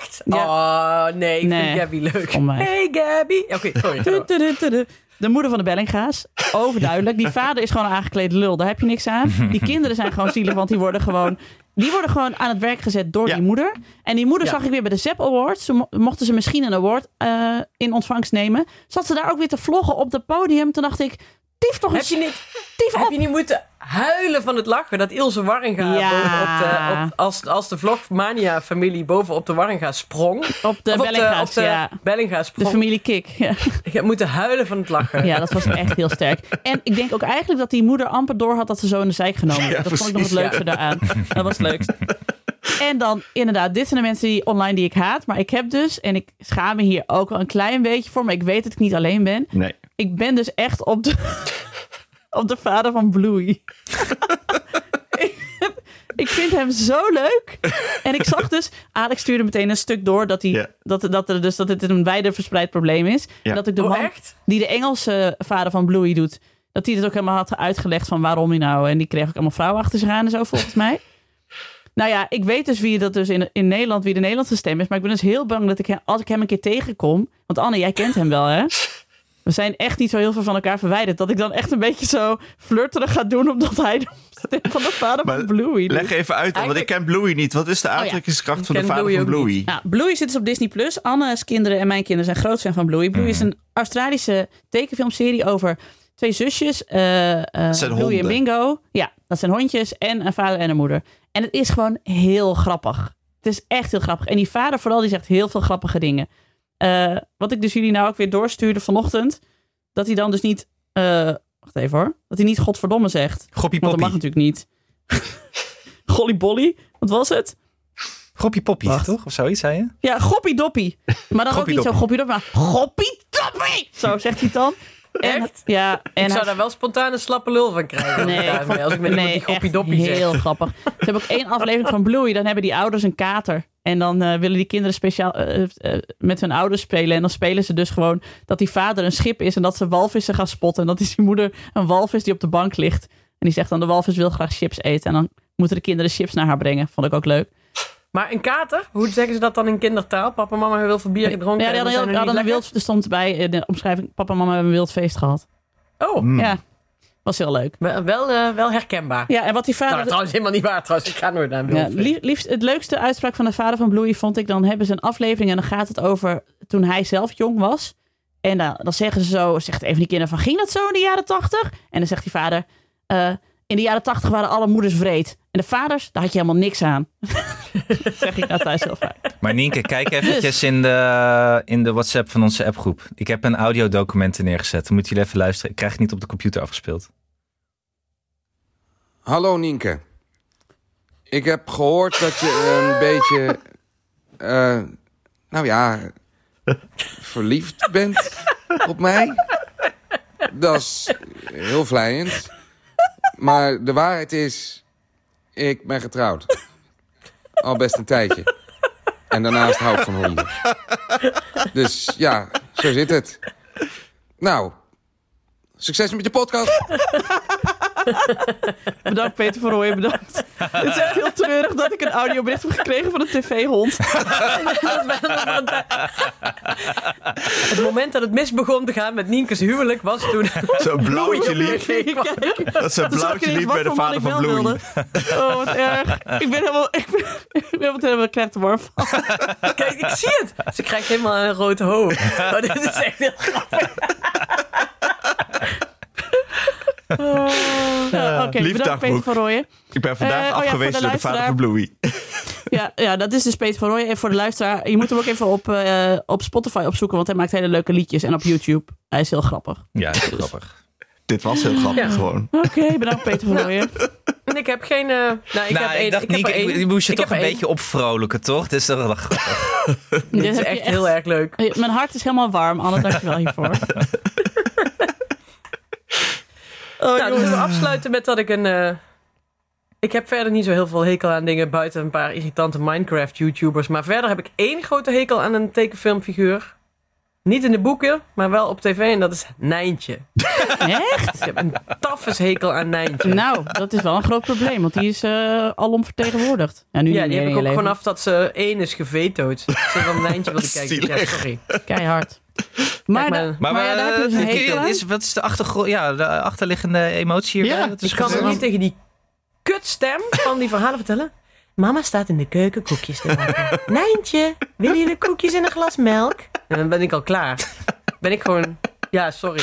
S2: Echt? Oh nee, ik
S1: Nee.
S2: vind Gabby leuk.
S1: Kom maar.
S2: Hey Gabby. Oké, sorry.
S1: Du-
S2: sorry.
S1: du- du- du- du. De moeder van de Bellinga's, overduidelijk. Die vader is gewoon een aangekleed lul, daar heb je niks aan. Die kinderen zijn gewoon zielig, want die worden gewoon, die worden gewoon aan het werk gezet door
S3: Ja.
S1: die moeder. En die moeder
S2: Ja.
S1: zag ik weer bij de ZEP Awards. Toen mo- mochten ze misschien een award eh, in ontvangst nemen. Zat ze daar ook weer te vloggen op het podium. Toen dacht ik, tief toch
S2: Heb
S1: eens
S2: je, niet,
S1: tief
S2: heb
S1: op.
S2: je niet moeten huilen van het lachen dat Ilse Warringa
S1: Ja.
S2: bovenop de, op, als, als de Vlogmania-familie bovenop de Warringa sprong?
S1: Op de
S2: Of op de, op
S1: Bellinga's,
S2: de Oh.
S1: ja.
S2: Bellinga
S1: De
S2: sprong.
S1: familie Kik. Ja.
S2: Ik heb moeten huilen van het lachen.
S1: ja, dat was echt heel sterk. En ik denk ook eigenlijk dat die moeder amper door had dat ze zo in de zeik genomen werd.
S3: Ja,
S1: dat vond ik nog het
S3: precies,
S1: leukste daaraan. Dat was het leukst. En dan inderdaad, dit zijn de mensen die online die ik haat. Maar ik heb dus, en ik schaam me hier ook wel een klein beetje voor. Maar ik weet dat ik niet alleen ben.
S3: Nee.
S1: Ik ben dus echt op de, op de vader van Bluey. Ik heb- ik vind hem zo leuk. En ik zag dus, Alex stuurde meteen een stuk door dat, hij,
S3: Ja.
S1: dat, dat, er, dus, dat het een wijder verspreid probleem is. En dat ik de
S2: Oh,
S1: man
S2: echt?
S1: die de Engelse vader van Bluey doet, dat hij het ook helemaal had uitgelegd van waarom hij nou. En die kreeg ook allemaal vrouwen achter zich aan en zo, volgens mij. Nou ja, ik weet dus wie dat dus in, in Nederland, wie de Nederlandse stem is. Maar ik ben dus heel bang dat ik hem, als ik hem een keer tegenkom. Want Anne, jij kent hem wel, hè? We zijn echt niet zo heel veel van elkaar verwijderd. Dat ik dan echt een beetje zo flirterig ga doen. omdat hij de stem van de vader
S3: Maar
S1: van Bluey. doet.
S3: Leg even uit, dan, want ik ken Bluey niet. Wat is
S1: Oh
S3: de aantrekkingskracht van de
S2: ken
S3: vader
S2: Bluey
S3: van
S2: ook
S3: Bluey?
S1: Nou, Bluey zit dus op Disney Plus. Anne's kinderen en mijn kinderen zijn groot fan van Bluey. Bluey is
S3: Mm.
S1: een Australische tekenfilmserie over twee zusjes. eh, eh,
S3: zijn
S1: Bluey en
S3: honden.
S1: Bingo. Ja, dat zijn hondjes en een vader en een moeder. En het is gewoon heel grappig. Het is echt heel grappig. En die vader vooral, die zegt heel veel grappige dingen. Eh, wat ik dus jullie nou ook weer doorstuurde vanochtend. Dat hij dan dus niet... eh, wacht even hoor. Dat hij niet godverdomme zegt.
S4: Goppie
S1: Want dat mag
S4: poppie.
S1: natuurlijk niet. Gollybolly. Wat was het?
S4: Goppie poppie,
S1: Wacht.
S4: toch? Of zoiets, zei je?
S1: Ja, goppiedoppie. Maar dan ook niet zo goppiedoppie, maar goppiedoppie! Zo zegt hij het dan. En,
S2: Echt?
S1: ja, en
S2: ik zou
S1: hij-
S2: daar wel spontaan een slappe lul van krijgen.
S1: Nee, ik
S2: daarmee, als ik met iemand die
S1: echt
S2: goppie doppie zeg.
S1: heel grappig. Ze hebben ook één aflevering van Bluey. Dan hebben die ouders een kater. En dan eh, willen die kinderen speciaal eh, eh, met hun ouders spelen. En dan spelen ze dus gewoon dat die vader een schip is. En dat ze walvissen gaan spotten. En dat is die moeder een walvis die op de bank ligt. En die zegt dan, de walvis wil graag chips eten. En dan moeten de kinderen chips naar haar brengen. Vond ik ook leuk.
S2: Maar een kater, hoe zeggen ze dat dan in kindertaal? Papa en mama hebben heel veel bier gedronken.
S1: Ja, eh, die
S2: en we
S1: hadden,
S2: zijn
S1: heel,
S2: nog
S1: hadden een
S2: niet
S1: wild, er stond bij in de omschrijving... Papa en mama hebben een wild feest gehad.
S2: lekker. Oh,
S1: Ja, was heel leuk.
S2: wel, wel, eh, wel herkenbaar.
S1: Ja, en wat die
S2: Nou,
S1: vader...
S2: trouwens helemaal niet waar trouwens. Ik ga nooit naar een
S1: ja,
S2: wilde feest.
S1: lief- liefst, het leukste uitspraak van de vader van Bluey vond ik... dan hebben ze een aflevering en dan gaat het over toen hij zelf jong was. En dan, dan zeggen ze zo, zegt een van die kinderen van... ging dat zo in de jaren tachtig? En dan zegt die vader... eh, in de jaren tachtig waren alle moeders vreed. En de vaders, daar had je helemaal niks aan. dat zeg ik nou thuis heel vaak.
S4: Maar Nienke, kijk eventjes in de, in de WhatsApp van onze appgroep. Ik heb een audiodocument er neergezet. Dan moeten jullie even luisteren. Ik krijg het niet op de computer afgespeeld.
S7: Hallo Nienke. Ik heb gehoord dat je een beetje. eh, nou ja. verliefd bent op mij. Dat is heel vlijend. Maar de waarheid is. Ik ben getrouwd. Al best een tijdje. En daarnaast hou ik van honden. Dus ja, zo zit het. Nou, succes met je podcast.
S1: Bedankt Peter van Rooyen, bedankt. Het is echt heel treurig dat ik een audiobericht heb gekregen van een tv-hond.
S2: Het moment dat het mis begon te gaan met Nienke's huwelijk was toen...
S3: Zo'n
S4: Oh,
S3: blauwtje liep.
S1: Kijk.
S3: Dat ze een
S1: Toen zag ik
S3: blauwtje liep
S1: ineens
S3: bij de
S1: wat voor
S3: vader van
S1: man ik wel
S3: Bloei.
S1: wilde. Oh, wat erg. Ik ben helemaal... Ik ben, ik ben helemaal, helemaal krijgt warm van.
S2: Kijk, ik zie het. Ze krijgt helemaal een rood hoofd. Maar dit is echt heel grappig.
S1: Nou, Oké, bedankt Peter
S3: liefdagboek.
S1: van Rooyen.
S3: Ik ben vandaag
S1: Eh, oh ja,
S3: afgewezen
S1: voor de
S3: door de vader van
S1: luisteraar.
S3: Bloei.
S1: Ja, ja, dat is dus Peter van Rooyen. En voor de luisteraar, je moet hem ook even op, eh, op Spotify opzoeken, want hij maakt hele leuke liedjes. En op YouTube. Hij is heel grappig.
S4: Ja, dat is grappig.
S3: Dit was heel grappig
S2: Ja.
S3: gewoon.
S1: Oké, bedankt Peter van Rooyen.
S2: En ik heb geen... eh, nou, ik
S4: nou,
S2: heb
S4: ik
S2: één.
S4: dacht
S2: ik
S4: niet,
S2: heb er één.
S4: ik, je moest je
S2: Ik
S4: toch
S2: heb
S4: een
S2: er één.
S4: beetje opvrolijken, toch? Dus dat is wel grappig.
S1: Dit
S2: Dit is
S1: heb je
S2: echt heel erg leuk.
S4: Oh,
S1: Hey, Mijn hart is helemaal warm. Anne, dankjewel hiervoor. Oh,
S2: nou, dan zullen we afsluiten met dat ik een... eh, ik heb verder niet zo heel veel hekel aan dingen buiten een paar irritante Minecraft-YouTubers. Maar verder heb ik één grote hekel aan een tekenfilmfiguur. Niet in de boeken, maar wel op tv. En dat is Nijntje.
S1: Echt?
S2: Ik heb een tafes hekel aan Nijntje.
S1: Nou, dat is wel een groot probleem, want die is eh alom vertegenwoordigd. Ja, nu
S2: ja,
S1: niet meer
S2: die heb
S1: in
S2: ik
S1: je
S2: ook
S1: leven.
S2: vanaf dat ze één is gevetood. Dat ze dan Nijntje wilde kijken. Ja,
S3: Zielig.
S2: sorry.
S1: Keihard. Maar,
S2: maar-
S1: da-
S2: Maar-
S1: maar, ja, daar heb je dus een
S4: eh,
S1: hekel aan.
S4: is, wat is de, achtergrond, ja, de achterliggende emotie hierbij?
S3: Ja,
S4: Dat is
S2: Ik kan
S4: gewoon-
S2: me niet tegen die kutstem van die verhalen vertellen. Mama staat in de keuken koekjes te maken. Nijntje, willen jullie koekjes in een glas melk? En dan ben ik al klaar. Ben ik gewoon... Ja, sorry.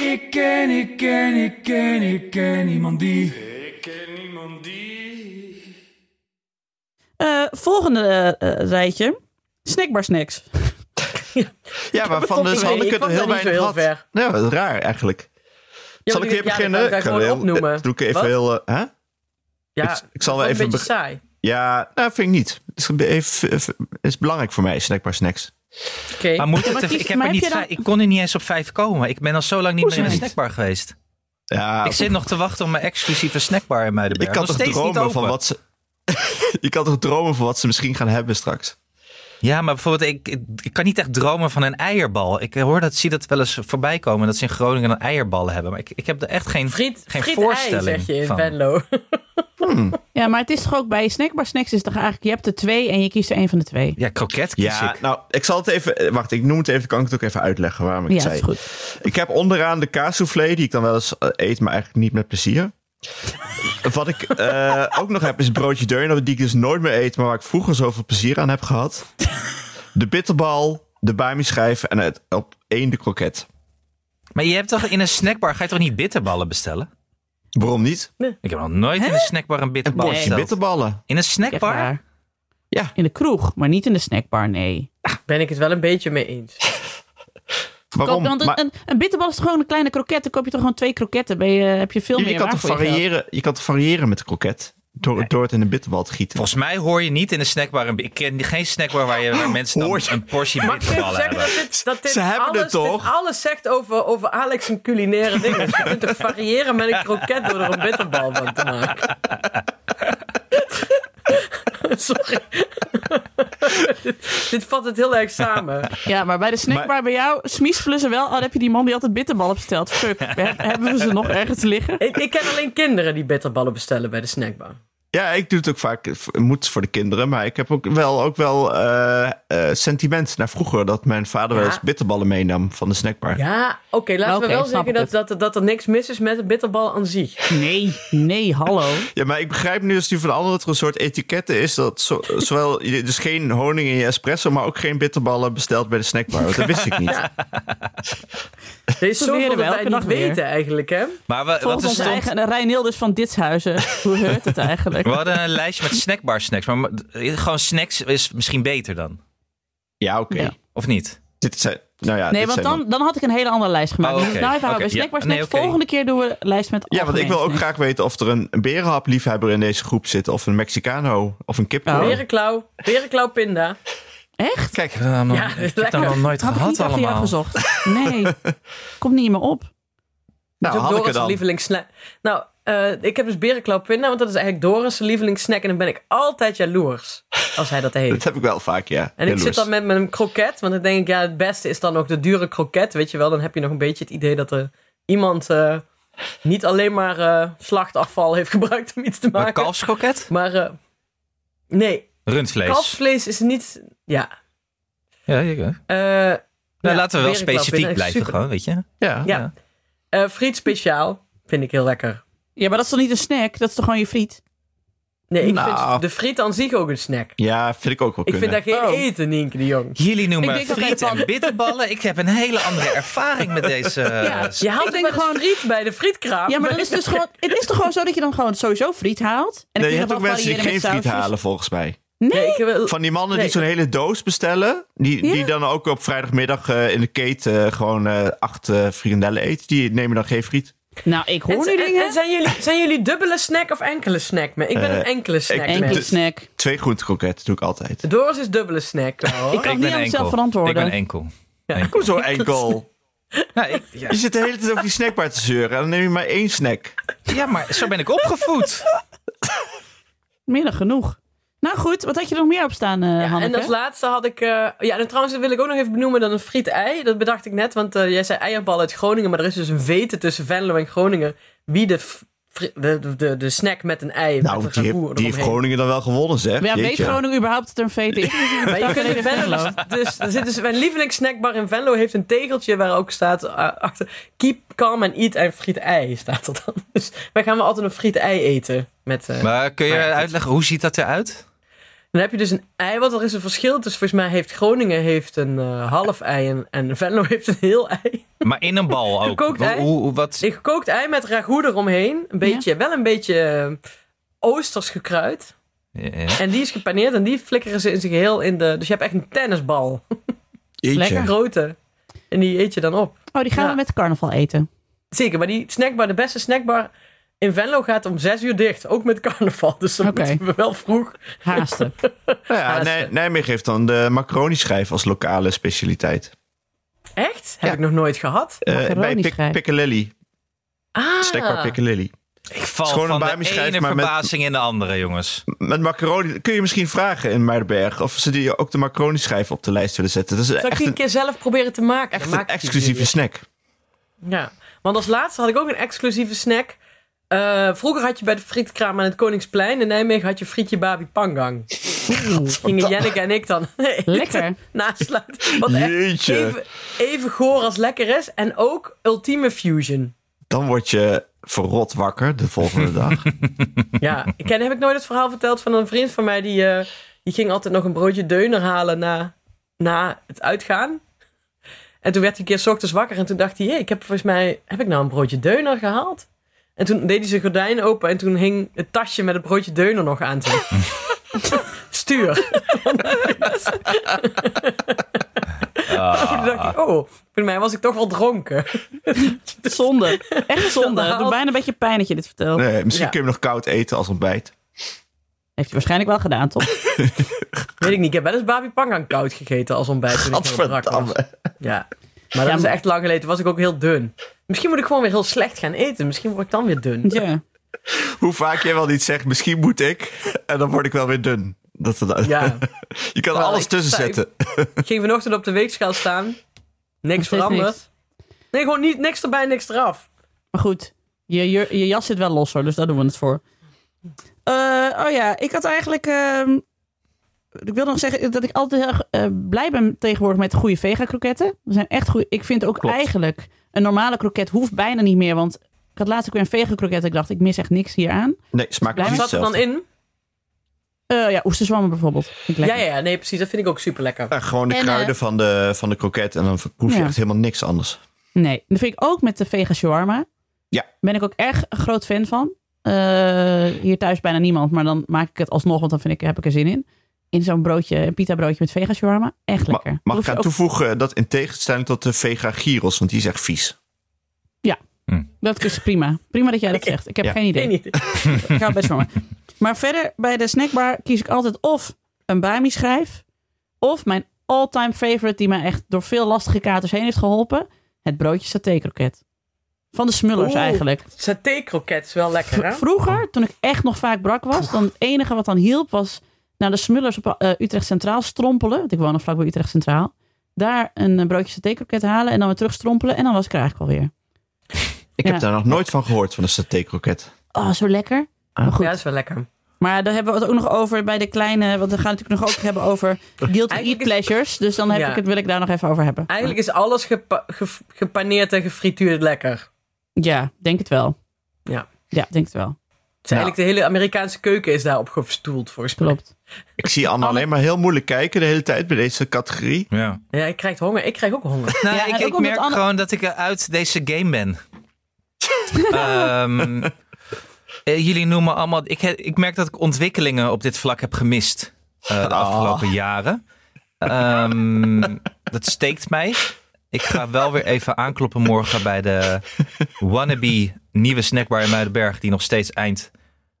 S5: Ik ken, ik ken, ik ken, ik ken niemand die.
S6: Ik ken niemand die.
S1: Eh, volgende eh, eh, rijtje. Snackbar snacks.
S3: Ja, waarvan
S2: toch
S3: dus
S2: idee.
S3: had ik
S2: Ik
S3: het
S2: kwam
S3: heel
S2: daar niet zo
S3: weinig
S2: heel
S3: had. Ja, wat raar eigenlijk.
S2: Ja,
S3: Zal
S2: maar die-
S3: ik weer
S2: ja, dan kan
S3: beginnen?
S2: ik daar gewoon
S3: wel-
S2: opnoemen.
S3: dat doe ik even
S2: Wat?
S3: heel... eh, hè?
S2: Ja,
S3: Ik- ik zal
S2: dat vond
S3: wel
S2: ik
S3: even
S2: een beetje saai.
S3: Ja, nou vind ik niet. Het is, even, even- het is belangrijk voor mij, snackbar snacks.
S2: Oké.
S4: Maar moet het
S1: maar
S4: er-
S1: kies-
S4: ik, heb
S1: maar
S4: er
S1: heb
S4: niet
S1: je dan-
S4: vijf- ik kon er niet eens op vijf komen. Ik ben al zo lang niet meer in een
S1: niet? Ah,
S4: snackbar geweest.
S3: Ja,
S4: Ik zit nog te wachten op mijn exclusieve snackbar in Muidenberg.
S3: je kan
S4: nog
S3: toch
S4: steeds niet
S3: dromen
S4: open.
S3: van wat ze... je kan toch dromen van wat ze misschien gaan hebben straks.
S4: Ja, maar bijvoorbeeld, ik, ik, ik kan niet echt dromen van een eierbal. Ik hoor dat, zie dat wel eens voorbij komen, dat ze in Groningen een eierbal hebben. Maar ik, ik heb er echt geen,
S2: Friet,
S4: geen
S2: friet
S4: voorstelling
S2: ei, zeg je in
S4: van.
S2: Venlo.
S1: Ja, maar het is toch ook bij snackbar snacks is toch eigenlijk... Je hebt er twee en je kiest er één van de twee.
S4: Ja, kroket kies
S3: Ja,
S4: ik.
S3: nou, ik zal het even... eh, Wacht, ik noem het even, kan ik het ook even uitleggen waarom ik
S1: Ja,
S3: het
S1: dat
S3: zei.
S1: is goed.
S3: Ik heb onderaan de kaassoufflé, die ik dan wel eens eh, eet, maar eigenlijk niet met plezier. Wat ik eh, ook nog heb, is broodje deurne, die ik dus nooit meer eet, maar waar ik vroeger zoveel plezier aan heb gehad. De bitterbal, de bami-schijf en het, op één de kroket.
S4: Maar je hebt toch in een snackbar, ga je toch niet bitterballen bestellen?
S3: Waarom niet?
S4: Ik heb nog nooit in een snackbar een
S3: Een
S4: bitterbal
S3: potje
S4: besteld.
S3: bitterballen.
S4: In een
S1: Echt
S4: snackbar?
S1: waar.
S3: Ja.
S1: In de kroeg, maar niet in de snackbar, nee.
S2: Ben ik het wel een beetje mee eens.
S3: Waarom?
S1: Koop- want een,
S3: Maar-
S1: een, een bitterbal is toch gewoon een kleine kroket. Dan koop je toch gewoon twee kroketten. Ben je, heb je veel
S3: Ja,
S1: meer
S3: je, kan
S1: waar
S3: toch
S1: voor je geld.
S3: variëren, je kan toch variëren met de kroket? Door, door het in een bitterbal te gieten.
S4: Volgens mij hoor je niet in een snackbar. Een, ik ken geen snackbar waar, je, waar mensen dan
S3: Hoor je?
S4: een portie
S2: Mag ik even
S4: bitterballen
S2: zeggen
S4: hebben.
S2: dat dit, dat dit
S3: Ze hebben het
S2: alles,
S3: toch?
S2: dit alles zegt over, over Alex en culinaire dingen. Dus je kunt toch variëren met een kroket door er een bitterbal van te maken. Sorry. dit, dit vat het heel erg samen.
S1: Ja, maar bij de snackbar bij jou smiespelen ze wel. Oh, dan heb je die man die altijd bitterballen bestelt. Fuck, he- hebben we ze nog ergens liggen?
S2: Ik, ik ken alleen kinderen die bitterballen bestellen bij de snackbar.
S3: Ja, ik doe het ook vaak. eh, v- Moet voor de kinderen. Maar ik heb ook wel, ook wel eh, eh, sentiment naar vroeger. Dat mijn vader wel
S2: Ja.
S3: eens bitterballen meenam van de snackbar.
S2: Ja, oké, laten
S1: Oké,
S2: we wel
S1: snap
S2: zeggen
S1: ik
S2: dat,
S1: het. dus.
S2: dat, dat, er niks mis is met een bitterbal aan zich.
S1: Nee, nee, hallo.
S3: Ja, maar ik begrijp nu dus die van anderen dat er een soort etiketten is. Dat zo, zowel, je- dus geen honing in je espresso, maar ook geen bitterballen besteld bij de snackbar. Want dat wist ik niet.
S2: Er is
S1: Proberen
S2: zoveel
S1: we
S2: dat wij
S1: elke
S2: niet
S1: dag weer. Oh.
S2: weten eigenlijk, hè?
S4: Maar we, wat
S1: Volgens
S4: er
S1: onze
S4: stond,
S1: eigen Rijn dus van Ditshuizen. Hoe heurt het eigenlijk?
S4: we hadden een lijstje met snackbar snacks. Maar maar, eh, gewoon snacks is misschien beter dan.
S3: Ja, oké.
S1: Ja.
S4: Of niet?
S3: Dit zijn. Nou ja,
S1: Nee,
S3: dit
S1: want
S3: zijn wel-
S1: dan, dan had ik een hele andere lijst gemaakt.
S4: Oh,
S1: Dus
S4: oké,
S1: Nou, even
S4: oké,
S1: houden bij
S4: ja.
S1: snackbar
S4: Nee,
S1: snacks.
S4: oké.
S1: Volgende keer doen we een lijst met
S3: Ja, want ik wil ook
S1: algemene
S3: graag weten of er een, een berenhapliefhebber in deze groep zit. Of een Mexicano. Of een
S2: Nou,
S3: Nou, kipkoper.
S1: Oh.
S2: Berenklauw, berenklauw pinda.
S1: snacks. Echt?
S4: Kijk, ik heb dat nou nog,
S2: Ja,
S4: ik heb
S2: lekker.
S4: dat nog nooit
S1: Had ik
S4: gehad
S1: niet achter jou
S4: allemaal.
S1: gezocht. Nee, komt niet meer op.
S3: nou,
S2: Zoek
S3: had ik
S2: door
S3: er
S2: als
S3: dan.
S2: lievelingssnack. Nou, eh, ik heb dus berenklauw pinda, want dat is eigenlijk Doris' lievelingssnack. En dan ben ik altijd jaloers als hij dat
S3: Dat
S2: eet.
S3: heb ik wel vaak, ja.
S2: En ik
S3: Jaloers.
S2: zit dan met mijn kroket, want dan denk ik, ja, het beste is dan ook de dure kroket, weet je wel. Dan heb je nog een beetje het idee dat er iemand eh, niet alleen maar eh, slachtafval heeft gebruikt om iets te
S4: Een
S2: maken.
S4: kalfskroket?
S2: Maar eh, nee,
S4: Rundvlees.
S2: kalfsvlees is niet... Ja,
S4: Ja, ja, ja.
S2: Eh,
S4: Nou,
S2: ja,
S4: laten we wel
S2: berenklauw vind
S4: specifiek
S2: ik
S4: blijven
S2: super.
S4: gewoon, weet je.
S3: Ja.
S2: Ja. Eh, friet speciaal vind ik heel lekker.
S1: Ja, maar dat is toch niet een snack? Dat is toch gewoon je friet?
S2: Nee, ik
S3: Nou.
S2: vind de friet aan zich ook een snack.
S3: Ja, vind ik ook wel
S2: Ik
S3: kunnen.
S2: vind daar geen
S1: Oh.
S2: eten, Nienke de Jong.
S4: Jullie noemen
S1: Ik denk dat
S4: friet
S1: wij
S4: en bitterballen. Ik heb een hele andere ervaring met deze... eh, s-
S2: Je
S1: dus Ik
S2: haalt
S1: denk
S2: ook wel gewoon
S1: gewoon-
S2: friet bij de frietkraam.
S1: Ja, maar dat is dus gewoon, het is toch gewoon zo dat je dan gewoon sowieso friet haalt? En
S3: Nee,
S1: dan
S3: je
S1: kun
S3: hebt
S1: nog
S3: ook
S1: wel
S3: mensen die geen
S1: variëren met
S3: friet
S1: sausjes.
S3: halen, volgens mij.
S2: Nee, ik wil-
S3: Van die mannen
S2: Nee.
S3: die zo'n hele doos bestellen. Die,
S1: Ja.
S3: die dan ook op vrijdagmiddag eh, in de keten eh, gewoon eh, acht eh, frikandellen eet. Die nemen dan geen friet.
S1: Nou, ik hoor
S2: en,
S1: nu
S2: en-
S1: dingen.
S2: en zijn, jullie, zijn jullie dubbele snack of enkele snack? Man? Ik ben een
S3: Eh,
S2: enkele snack.
S3: ik-
S2: man.
S1: Enkele
S3: Dus-
S1: snack.
S3: Twee groentekroketten doe ik altijd.
S2: Doris is dubbele snack. wel,
S1: Ik
S2: hoor.
S1: kan
S4: ik
S1: niet
S4: ben
S1: aan mezelf
S4: enkel. Ik
S1: verantwoorden.
S4: ben enkel.
S3: Hoezo enkel?
S4: Nou, ik- ja.
S3: Je zit de hele tijd over die snackbar te zeuren. En dan neem je maar één snack.
S4: ja, maar zo ben ik opgevoed.
S1: Meer dan genoeg. Nou goed, wat had je er nog meer op staan, eh
S2: Ja, en
S1: Hanneke?
S2: als laatste had ik... eh, ja, en trouwens wil ik ook nog even benoemen dan een friet-ei. Dat bedacht ik net, want eh, jij zei eierbal uit Groningen. Maar er is dus een weten tussen Venlo en Groningen. Wie de, f- fri- de, de- de, de snack met een ei... met
S3: Nou,
S2: een
S3: die
S2: ragout
S3: heeft, die heeft
S2: eromheen.
S3: Groningen dan wel gewonnen, zeg.
S1: ja, weet
S3: Jeetje.
S1: Groningen überhaupt dat er een feest is?
S2: Maar je
S1: Dag,
S2: kunt in
S1: meneer
S2: Venlo.
S1: Venlo.
S2: Dus, er zit dus mijn lievelingssnackbar in Venlo heeft een tegeltje waar ook staat eh, achter keep calm and eat en friet ei staat er dan. Dus wij gaan wel altijd een friet ei eten met. eh,
S4: Maar kun je
S2: Maar ja, goed.
S4: uitleggen, hoe ziet dat eruit?
S2: Dan heb je dus een ei, want er is een verschil. Dus volgens mij heeft Groningen heeft een eh, half ei en, en Venlo heeft een heel ei.
S4: Maar in een bal ook.
S2: Gekookt ei?
S4: Hoe, hoe- wat,
S2: Een gekookt ei met ragout eromheen, een beetje, wel een beetje eh, oosters gekruid.
S4: Ja.
S2: En die is gepaneerd en die flikkeren ze in zijn geheel in de. Dus je hebt echt een tennisbal,
S3: Jeetje.
S1: Lekker.
S2: een grote. En die eet je dan op.
S1: Oh, die gaan
S2: Ja.
S1: we met carnaval eten.
S2: Zeker, maar die snackbar, de beste snackbar in Venlo gaat om zes uur dicht. Ook met carnaval, dus dan
S1: Oké.
S2: moeten we wel vroeg.
S1: Haasten.
S3: Nou ja,
S2: Haasten.
S3: Nij- Nijmegen heeft dan de macaroni-schijf als lokale specialiteit.
S2: Echt? Heb ik nog nooit gehad.
S3: Eh, bij
S1: Macaroni-schijf.
S3: Pic- Piccalilli.
S2: Ah,
S3: Snackbar Piccalilli.
S4: Ik val
S3: Het is gewoon een
S4: van de
S3: Bami-schijf,
S4: ene
S3: maar met-
S4: verbazing in de andere, jongens.
S3: Met macaroni kun je misschien vragen in Muidenberg of ze die ook de macaroni-schijf op de lijst willen zetten. Dat is
S2: Zal ik
S3: echt
S2: die een
S3: een,
S2: keer zelf proberen te maken? Dan
S3: echt
S2: maak
S3: een
S2: ik die
S3: exclusieve
S2: voor
S3: snack.
S2: jullie. Ja, want als laatste had ik ook een exclusieve snack. Eh, vroeger had je bij de frietkraam aan het Koningsplein in Nijmegen had je frietje Babi Pangang. Gingen Janneke en ik dan eten
S1: Lekker.
S2: nasluiten. Wat echt
S3: Jeetje.
S2: even, even goor als lekker is. En ook Ultieme Fusion.
S3: Dan word je verrot wakker de volgende dag.
S2: Ja, ik ken, heb ik nooit het verhaal verteld van een vriend van mij die, eh, die ging altijd nog een broodje deuner halen na, na het uitgaan. En toen werd hij een keer 's ochtends wakker en toen dacht hij, hé, ik heb volgens mij, heb ik nou een broodje deuner gehaald? En toen deed hij zijn gordijn open en toen hing het tasje met het broodje deuner nog aan zijn stuur. Toen dacht ik, oh, volgens mij was ik toch wel dronken.
S1: Zonde. Echt zonde. Het doet bijna een beetje pijn dat je dit vertelt.
S3: Nee, misschien
S2: Ja.
S3: kun je hem nog koud eten als ontbijt.
S1: Heeft je waarschijnlijk wel gedaan, toch?
S2: Weet ik niet, ik heb wel eens Babi Pangang koud gegeten als ontbijt toen ik heel brak was.
S3: Gadverdamme.
S2: Ja, maar dat
S1: Ja,
S2: is
S1: maar-
S2: echt lang geleden. Toen was ik ook heel dun. Misschien moet ik gewoon weer heel slecht gaan eten. Misschien word ik dan weer dun.
S1: Ja.
S3: Hoe vaak jij wel niet zegt, misschien moet ik. En dan word ik wel weer dun. Dat, dat,
S2: Ja.
S3: je kan er
S2: Wel,
S3: alles
S2: ik-
S3: tussen
S2: nou,
S3: zetten.
S2: Ik ging vanochtend op de weegschaal staan. Niks
S1: steeds
S2: veranderd.
S1: niks.
S2: Nee, gewoon niet, niks erbij, niks eraf.
S1: Maar goed, je, je, je jas zit wel los hoor, dus daar doen we het voor. Eh, oh ja, ik had eigenlijk. ehm, ik wil nog zeggen dat ik altijd heel erg eh, blij ben tegenwoordig met goede vega-kroketten. We zijn echt goed. Ik vind ook
S3: Klopt.
S1: eigenlijk een normale kroket hoeft bijna niet meer. Want ik had laatst ook weer een vega-kroket. en Ik dacht, ik mis echt niks hier aan.
S3: Nee, smaakt
S1: Blijf-
S2: Wat
S3: precies
S2: zat er dan
S3: hetzelfde.
S2: in?
S1: Eh, ja, oesterzwammen bijvoorbeeld. Vind ik
S2: Ja,
S1: lekker.
S2: ja, ja, nee, precies. Dat vind ik ook super lekker.
S3: Ja, gewoon de
S1: En, eh,
S3: kruiden van, de, van de kroket en dan proef je
S1: Ja.
S3: echt helemaal niks anders.
S1: Nee, dat vind ik ook met de vega shawarma.
S3: Ja.
S1: Ben ik ook erg een groot fan van. Eh, hier thuis bijna niemand, maar dan maak ik het alsnog, want dan vind ik, heb ik er zin in. In zo'n broodje, een pita broodje met vega shawarma. Echt
S3: Ma-
S1: lekker.
S3: mag
S1: Hoef
S3: ik
S1: je
S3: aan
S1: ook-
S3: toevoegen dat in tegenstelling tot de Vega Gyros, want die is echt vies.
S1: Dat is prima. Prima dat jij dat zegt. Ik heb
S3: Ja.
S1: geen idee.
S2: Geen idee.
S1: Ik hou best van me. Maar verder, bij de snackbar kies ik altijd of een bami schrijf, of mijn all-time favorite, die mij echt door veel lastige katers heen heeft geholpen, het broodje satékroket. Van de smullers
S2: Oeh.
S1: eigenlijk.
S2: Saté-kroket is wel lekker, hè?
S1: Vroeger, toen ik echt nog vaak brak was, dan het enige wat dan hielp was naar de smullers op eh, Utrecht Centraal strompelen. Want ik woon nog vlakbij Utrecht Centraal. Daar een eh, broodje satékroket halen en dan weer terug strompelen. En dan was ik er eigenlijk alweer.
S3: Ik
S1: Ja.
S3: heb daar nog nooit van gehoord, van een satékroket.
S1: Oh, zo lekker. Maar goed.
S2: Ja, is wel lekker.
S1: Maar daar hebben we het ook nog over bij de kleine. Want we gaan het natuurlijk nog ook hebben over guilty eat
S2: Eigenlijk is-
S1: pleasures. Dus dan heb
S2: Ja.
S1: ik het, wil ik daar nog even over hebben.
S2: Eigenlijk is alles gepa- ge- gepaneerd en gefrituurd lekker. Het
S1: Ja, denk het wel.
S2: Ja.
S1: Ja, denk het wel.
S2: is Eigenlijk de hele Amerikaanse keuken is daarop gestoeld, volgens mij.
S1: Klopt.
S3: Ik zie Anne alleen maar heel moeilijk kijken de hele tijd bij deze categorie.
S4: Ja.
S2: Ja, ik krijg honger. Ik krijg ook honger.
S4: Nou,
S1: Ja, en
S4: ik,
S1: ook
S4: ik
S1: omdat
S4: merk
S1: Anne-
S4: gewoon dat ik eh, uit deze game ben. Ehm, eh, jullie noemen allemaal. Ik, he- ik merk dat ik ontwikkelingen op dit vlak heb gemist eh, de
S3: Ah.
S4: afgelopen jaren. Ehm, dat steekt mij. Ik ga wel weer even aankloppen morgen bij de wannabe nieuwe snackbar in Muidenberg, die nog steeds eind.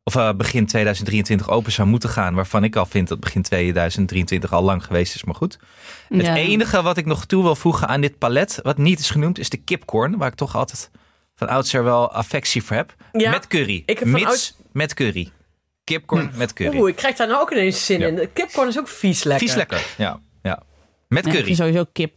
S4: Of eh, begin 2023 open zou moeten gaan. Waarvan ik al vind dat begin 2023 al lang geweest is. Maar goed. Het
S1: Ja.
S4: enige wat ik nog toe wil voegen aan dit palet, wat niet is genoemd, is de kipcorn. Waar ik toch altijd van oudsher wel affectie voor heb.
S2: Ja,
S4: met curry.
S2: ik heb van
S4: Mits
S2: ouds- Hm.
S4: met curry. Kipcorn met curry.
S2: Oeh, ik krijg daar nou ook ineens zin
S4: Ja.
S2: in. De Kipcorn is ook vies lekker.
S4: Vies lekker. Ja, ja.
S1: Ja, ik
S4: Met curry.
S1: vind sowieso kip.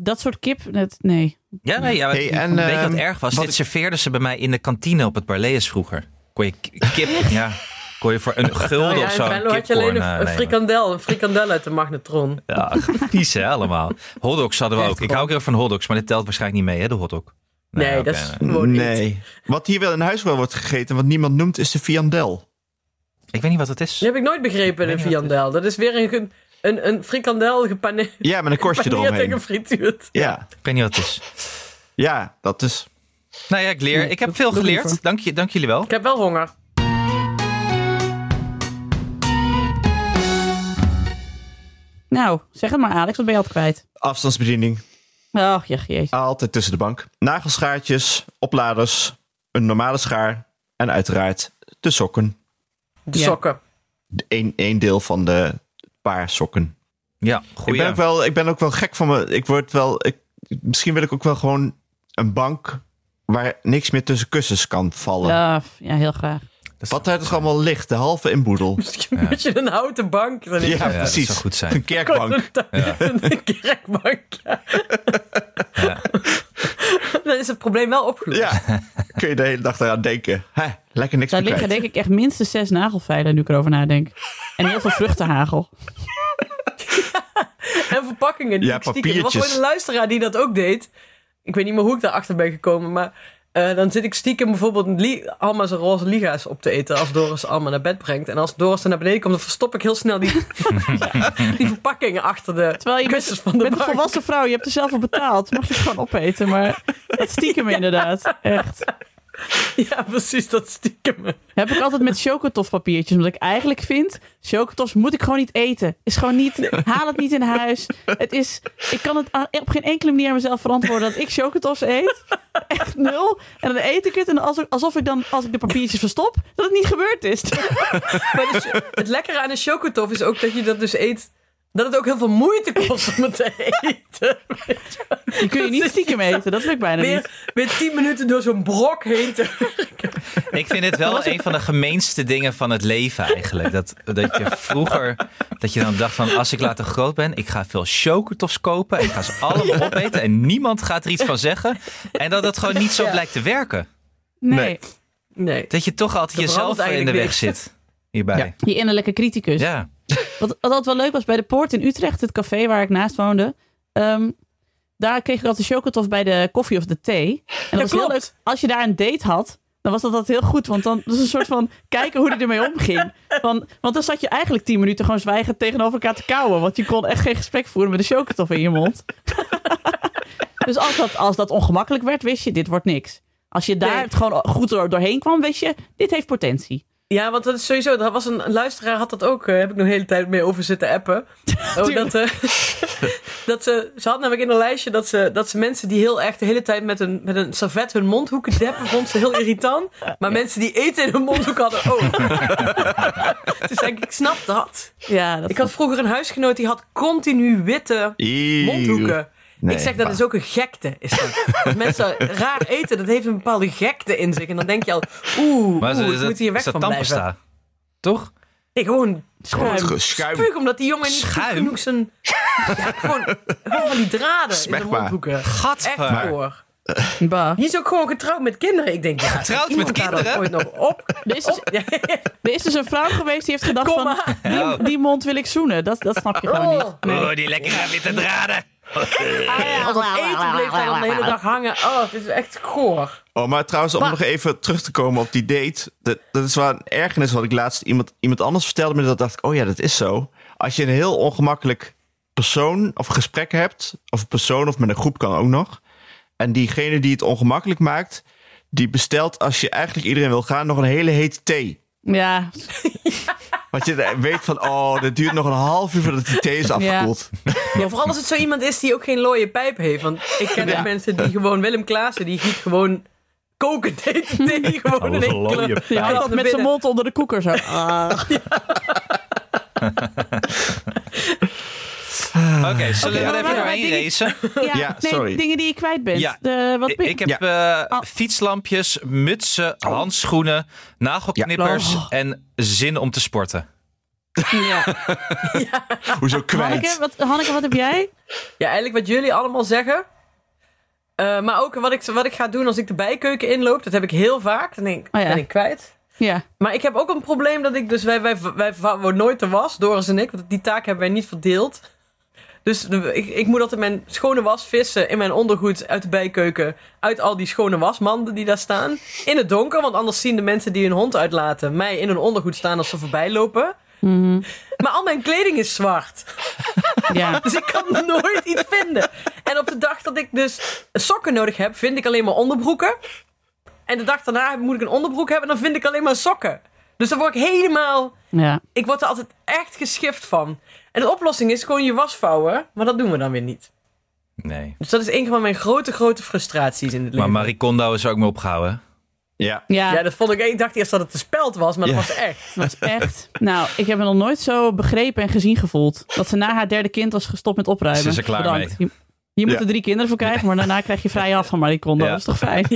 S1: Dat soort kip, net, nee.
S4: Ja, nee, ja.
S3: Hey, en,
S4: weet je wat
S3: ehm,
S4: erg was?
S3: wat
S4: Dit
S3: ik-
S4: serveerden ze bij mij in de kantine op het Barlees vroeger. Kon je k- kip, ja, kon je voor een gulden
S2: Oh ja,
S4: of
S2: in
S4: zo een
S2: Venlo had je alleen
S4: kipcorn
S2: een,
S4: eh,
S2: een
S4: nemen.
S2: frikandel. Een frikandel uit de magnetron.
S4: Ja, vies hè, allemaal. Hotdogs hadden we
S2: Echt
S4: ook. Ik
S2: hoor.
S4: hou ook heel erg van hotdogs, maar dit telt waarschijnlijk niet mee hè, de hotdog.
S2: Nee,
S4: oké,
S2: dat is
S4: nee.
S2: gewoon niet.
S3: Oh, nee. Wat hier wel in huis wel wordt gegeten, wat niemand noemt, is de viandel.
S4: Ik weet niet wat het is.
S2: Dat heb ik nooit begrepen, een viandel. Dat is weer een, ge- een, een frikandel gepaneerd
S3: Ja, met een korstje
S2: en
S3: eromheen.
S2: gefrituurd.
S3: Ja,
S4: Ik weet niet wat het is.
S3: ja, dat is...
S4: Nou ja, ik leer. Ik heb veel
S1: doe
S4: geleerd.
S1: liever.
S4: Dank, je, dank jullie wel.
S2: Ik heb wel honger.
S1: Nou, zeg het maar Alex, wat ben je altijd kwijt?
S3: Afstandsbediening,
S1: Ach, ja, jezus.
S3: altijd tussen de bank. Nagelschaartjes, opladers, een normale schaar en uiteraard de sokken.
S2: De
S1: Ja.
S2: sokken.
S3: Eén één deel van de paar sokken.
S4: Ja,
S3: Ik
S4: goeie.
S3: ben, ook wel, ik ben ook wel gek van me. Ik word wel. Ik, misschien wil ik ook wel gewoon een bank waar niks meer tussen kussens kan vallen.
S1: Ja, f- ja, heel graag.
S3: Wat daar toch allemaal ligt, de halve inboedel.
S2: Misschien moet je een houten bank. Dan
S3: Ja,
S2: ja.
S4: dat
S3: precies.
S4: zou goed zijn.
S3: Een kerkbank.
S2: Een kerkbank. ja. Dan is het probleem wel opgelost.
S3: Ja, kun je de hele dag eraan denken. Hè, lekker niks
S1: Daar
S3: meer
S1: liggen
S3: kwijt.
S1: denk ik echt minstens zes nagelveilen nu ik erover nadenk. En heel veel vruchtenhagel.
S2: En verpakkingen. die
S3: Ja,
S2: ik stiekem- Er was
S3: papiertjes.
S2: ooit een luisteraar die dat ook deed. Ik weet niet meer hoe ik daarachter ben gekomen, maar... eh, dan zit ik stiekem bijvoorbeeld een li- Alma's roze liga's op te eten als Doris Alma naar bed brengt. En als Doris er naar beneden komt, dan verstop ik heel snel die, die verpakkingen achter de
S1: Terwijl je bent,
S2: kussens van de
S1: bent een
S2: bank.
S1: volwassen vrouw, je hebt er zelf voor betaald. Mag je het gewoon opeten, maar dat stiekem inderdaad. Echt.
S2: Ja, precies, dat stiekem.
S1: Heb ik altijd met chocotofpapiertjes. Omdat ik eigenlijk vind, chocotofs moet ik gewoon niet eten. Is gewoon niet, haal het niet in huis. Het is, ik kan het aan- op geen enkele manier aan mezelf verantwoorden dat ik chocotofs eet. Echt nul. En dan eet ik het en alsof, alsof ik dan, als ik de papiertjes verstop, dat het niet gebeurd is.
S2: Maar de cho- het lekkere aan een chocotof is ook dat je dat dus eet... Dat het ook heel veel moeite kost om het te eten.
S1: Die kun je niet stiekem eten, dat lukt bijna niet.
S2: Weer, weer tien minuten door zo'n brok heen te
S4: Ik vind dit wel een van de gemeenste dingen van het leven eigenlijk. Dat, dat je vroeger, dat je dan dacht van als ik later groot ben, ik ga veel chocotofs kopen. En ik ga ze allemaal opeten en niemand gaat er iets van zeggen. En dat het gewoon niet zo
S2: Ja.
S4: blijkt te werken.
S1: Nee,
S2: Nee.
S4: Dat je toch altijd
S2: Dat
S4: jezelf
S2: verandert
S4: in de weg
S2: eigenlijk
S4: zit hierbij.
S1: die innerlijke criticus.
S4: Ja,
S1: Wat, wat altijd wel leuk was, bij de Poort in Utrecht, het café waar ik naast woonde. ehm, daar kreeg ik altijd chocotof bij de koffie of de thee. En dat was heel
S2: klopt.
S1: leuk. Als je daar een date had, dan was dat altijd heel goed. Want dan was een soort van kijken hoe die ermee omging. Van, want dan zat je eigenlijk tien minuten gewoon zwijgend tegenover elkaar te kauwen. Want je kon echt geen gesprek voeren met een chocotof in je mond. dus als dat, als dat ongemakkelijk werd, wist je, dit wordt niks. Als je daar
S2: Nee.
S1: het gewoon goed door- doorheen kwam, wist je, dit heeft potentie.
S2: Ja, want dat is sowieso. Dat was een, een luisteraar had dat ook. eh, heb ik nog een hele tijd mee over zitten appen. Oh, dat, eh, dat ze, ze had namelijk in een lijstje dat ze, dat ze mensen die heel echt de hele tijd met een, met een servet hun mondhoeken deppen, vond ze heel irritant. Maar mensen die eten in hun mondhoek hadden ook. dus denk ik, ik snap dat.
S1: Ja, dat
S2: Ik had vroeger een huisgenoot die had continu witte
S3: Eeuw.
S2: mondhoeken.
S3: Nee,
S2: ik zeg, dat
S3: maar-
S2: is ook een gekte. Is dat. Als mensen raar eten, dat heeft een bepaalde gekte in zich. En dan denk je al, oeh,
S4: Maar
S2: oeh
S4: ze-
S2: ik
S4: ze-
S2: moet hier weg
S4: ze
S2: van
S4: tandpasta.
S2: blijven.
S4: Toch?
S2: Nee, gewoon
S3: Gewoon
S1: Schuim.
S3: ge- schuim.
S2: spuug, omdat die jongen niet goed
S4: Schuim?
S2: genoeg zijn... Ja, gewoon, gewoon van die draden in de
S3: Smegma.
S2: mondhoeken. Echt
S4: Gadver.
S2: hoor.
S1: Bah.
S2: Die is ook gewoon getrouwd met kinderen. Ik denk, ja,
S4: Getrouwd
S2: iemand
S4: met
S2: gaat dat
S4: kinderen?
S2: ooit nog op.
S1: Er is, dus,
S2: Ja,
S1: er is dus een vrouw geweest die heeft gedacht
S2: Kom
S1: van...
S2: maar.
S4: Oh.
S1: Die, die mond wil ik zoenen. Dat, dat snap je gewoon niet.
S4: Oh, die lekkere witte draden.
S2: Als het eten bleef daar dan de hele dag hangen. Oh, het is echt goor.
S3: Oh, maar trouwens, om nog even terug te komen op die date. Dat, dat is wel een ergernis wat ik laatst iemand, iemand anders vertelde. Maar dat dacht ik, oh ja, dat is zo. Als je een heel ongemakkelijk persoon of gesprek hebt. Of een persoon of met een groep kan ook nog. En diegene die het ongemakkelijk maakt. Die bestelt als je eigenlijk iedereen wil gaan nog een hele hete thee.
S1: Ja,
S3: Want je weet van, oh, dat duurt nog een half uur voordat die thee is afgekoeld.
S2: Ja, vooral als het zo iemand is die ook geen looie pijp heeft. Want ik ken ook
S1: Ja.
S2: mensen die gewoon... Willem Klaassen, die giet gewoon koken tegen thee. Gewoon in één kleur.
S1: ja
S2: Hij
S1: hij
S2: had
S1: zat met zijn
S2: binnen.
S1: mond onder de koeker zo. Ah.
S3: Oké,
S4: Oké, zullen we er
S1: maar
S4: even
S1: waar
S4: doorheen
S1: dingen-
S4: racen?
S1: Ja,
S3: Ja,
S1: nee,
S3: sorry.
S1: dingen die je kwijt bent.
S4: Ja.
S1: De- wat, Oh.
S4: Ik, ik heb eh, fietslampjes, mutsen,
S3: Oh.
S4: handschoenen, nagelknippers
S1: Ja. Oh.
S4: en zin om te sporten.
S1: ja.
S3: Hoezo
S1: Hanneke,
S3: kwijt?
S1: wat, Hanneke, wat heb jij?
S2: Ja, eigenlijk wat jullie allemaal zeggen. Eh, maar ook wat ik, wat ik ga doen als ik de bijkeuken inloop. Dat heb ik heel vaak. Dan denk ik,
S1: Oh ja.
S2: ben ik kwijt.
S1: Ja.
S2: Maar ik heb ook een probleem dat ik dus... Wij, wij, wij vouwen nooit de was, Doris en ik. Want die taak hebben wij niet verdeeld. Dus de- ik, ik moet altijd mijn schone was vissen in mijn ondergoed uit de bijkeuken. Uit al die schone wasmanden die daar staan. In het donker, want anders zien de mensen die hun hond uitlaten... mij in hun ondergoed staan als ze voorbij lopen.
S1: Mhm.
S2: Maar al mijn kleding is zwart.
S1: ja.
S2: Dus ik kan nooit iets vinden. En op de dag dat ik dus sokken nodig heb, vind ik alleen maar onderbroeken. En de dag daarna moet ik een onderbroek hebben en dan vind ik alleen maar sokken. Dus dan word ik helemaal...
S1: ja.
S2: Ik word er altijd echt geschift van. En de oplossing is gewoon je was vouwen. Maar dat doen we dan weer niet.
S4: Nee.
S2: Dus dat is een van mijn grote, grote frustraties in het
S4: Maar
S2: leven.
S4: Marie Kondo is er ook mee opgehouden.
S3: Ja.
S1: Ja,
S2: Ja, dat vond ik... Ik dacht eerst dat het een speld was, maar dat
S3: Ja.
S2: was echt.
S1: dat is echt. Nou, ik heb me nog nooit zo begrepen en gezien gevoeld. Dat ze na haar derde kind was gestopt met opruimen.
S4: Ze is er klaar
S1: Bedankt. Je, je moet
S3: Ja.
S1: er drie kinderen voor krijgen, maar daarna krijg je vrij af van Marie Kondo.
S4: Ja.
S1: Dat is toch fijn?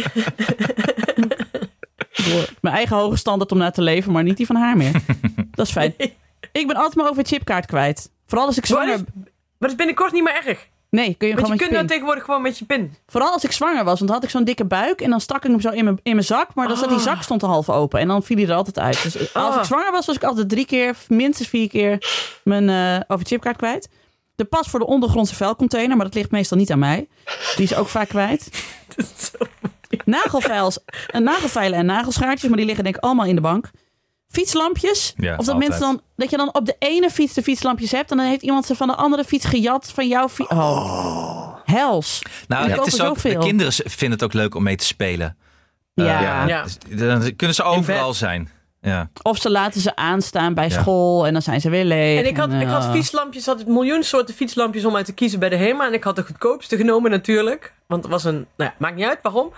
S1: Door Mijn eigen hoge standaard om naar te leven, maar niet die van haar meer. Dat is fijn. Ik ben altijd maar over chipkaart kwijt. Vooral als ik
S2: Maar
S1: zwanger...
S2: dat is, maar dat is binnenkort niet meer erg.
S1: Nee, kun je gewoon
S2: Want je
S1: met je
S2: kunt nou
S1: pin.
S2: tegenwoordig gewoon met je pin.
S1: Vooral als ik zwanger was, want dan had ik zo'n dikke buik en dan stak ik hem zo in mijn, in mijn zak, maar dan zat die zak stond er half open en dan viel hij er altijd uit. Dus als
S2: Ah.
S1: ik zwanger was, was ik altijd drie keer, minstens vier keer mijn eh overchipkaart kwijt. De pas voor de ondergrondse vuilcontainer, maar dat ligt meestal niet aan mij. Die is ook vaak kwijt. Nagelvijls, en nagelvijlen en nagelschaartjes, maar die liggen denk ik allemaal in de bank. Fietslampjes.
S4: Ja,
S1: of dat
S4: altijd.
S1: mensen dan, dat je dan op de ene fiets de fietslampjes hebt en dan heeft iemand ze van de andere fiets gejat van jouw fiets. Oh. Hels.
S4: Nou,
S1: Ja.
S4: het is
S1: Kopen
S4: ook, de
S1: zoveel.
S4: kinderen z- vinden het ook leuk om mee te spelen.
S1: ja.
S4: Ja.
S2: Ja.
S4: Dus Dan kunnen ze overal
S2: bed.
S4: zijn. Ja.
S1: Of ze laten ze aanstaan bij
S4: Ja.
S1: school en dan zijn ze weer leeg.
S2: En ik had, ik had
S1: eh,
S2: fietslampjes, had een miljoen soorten fietslampjes om uit te kiezen bij de HEMA. En ik had de goedkoopste genomen natuurlijk. Want het was een, nou ja, maakt niet uit waarom.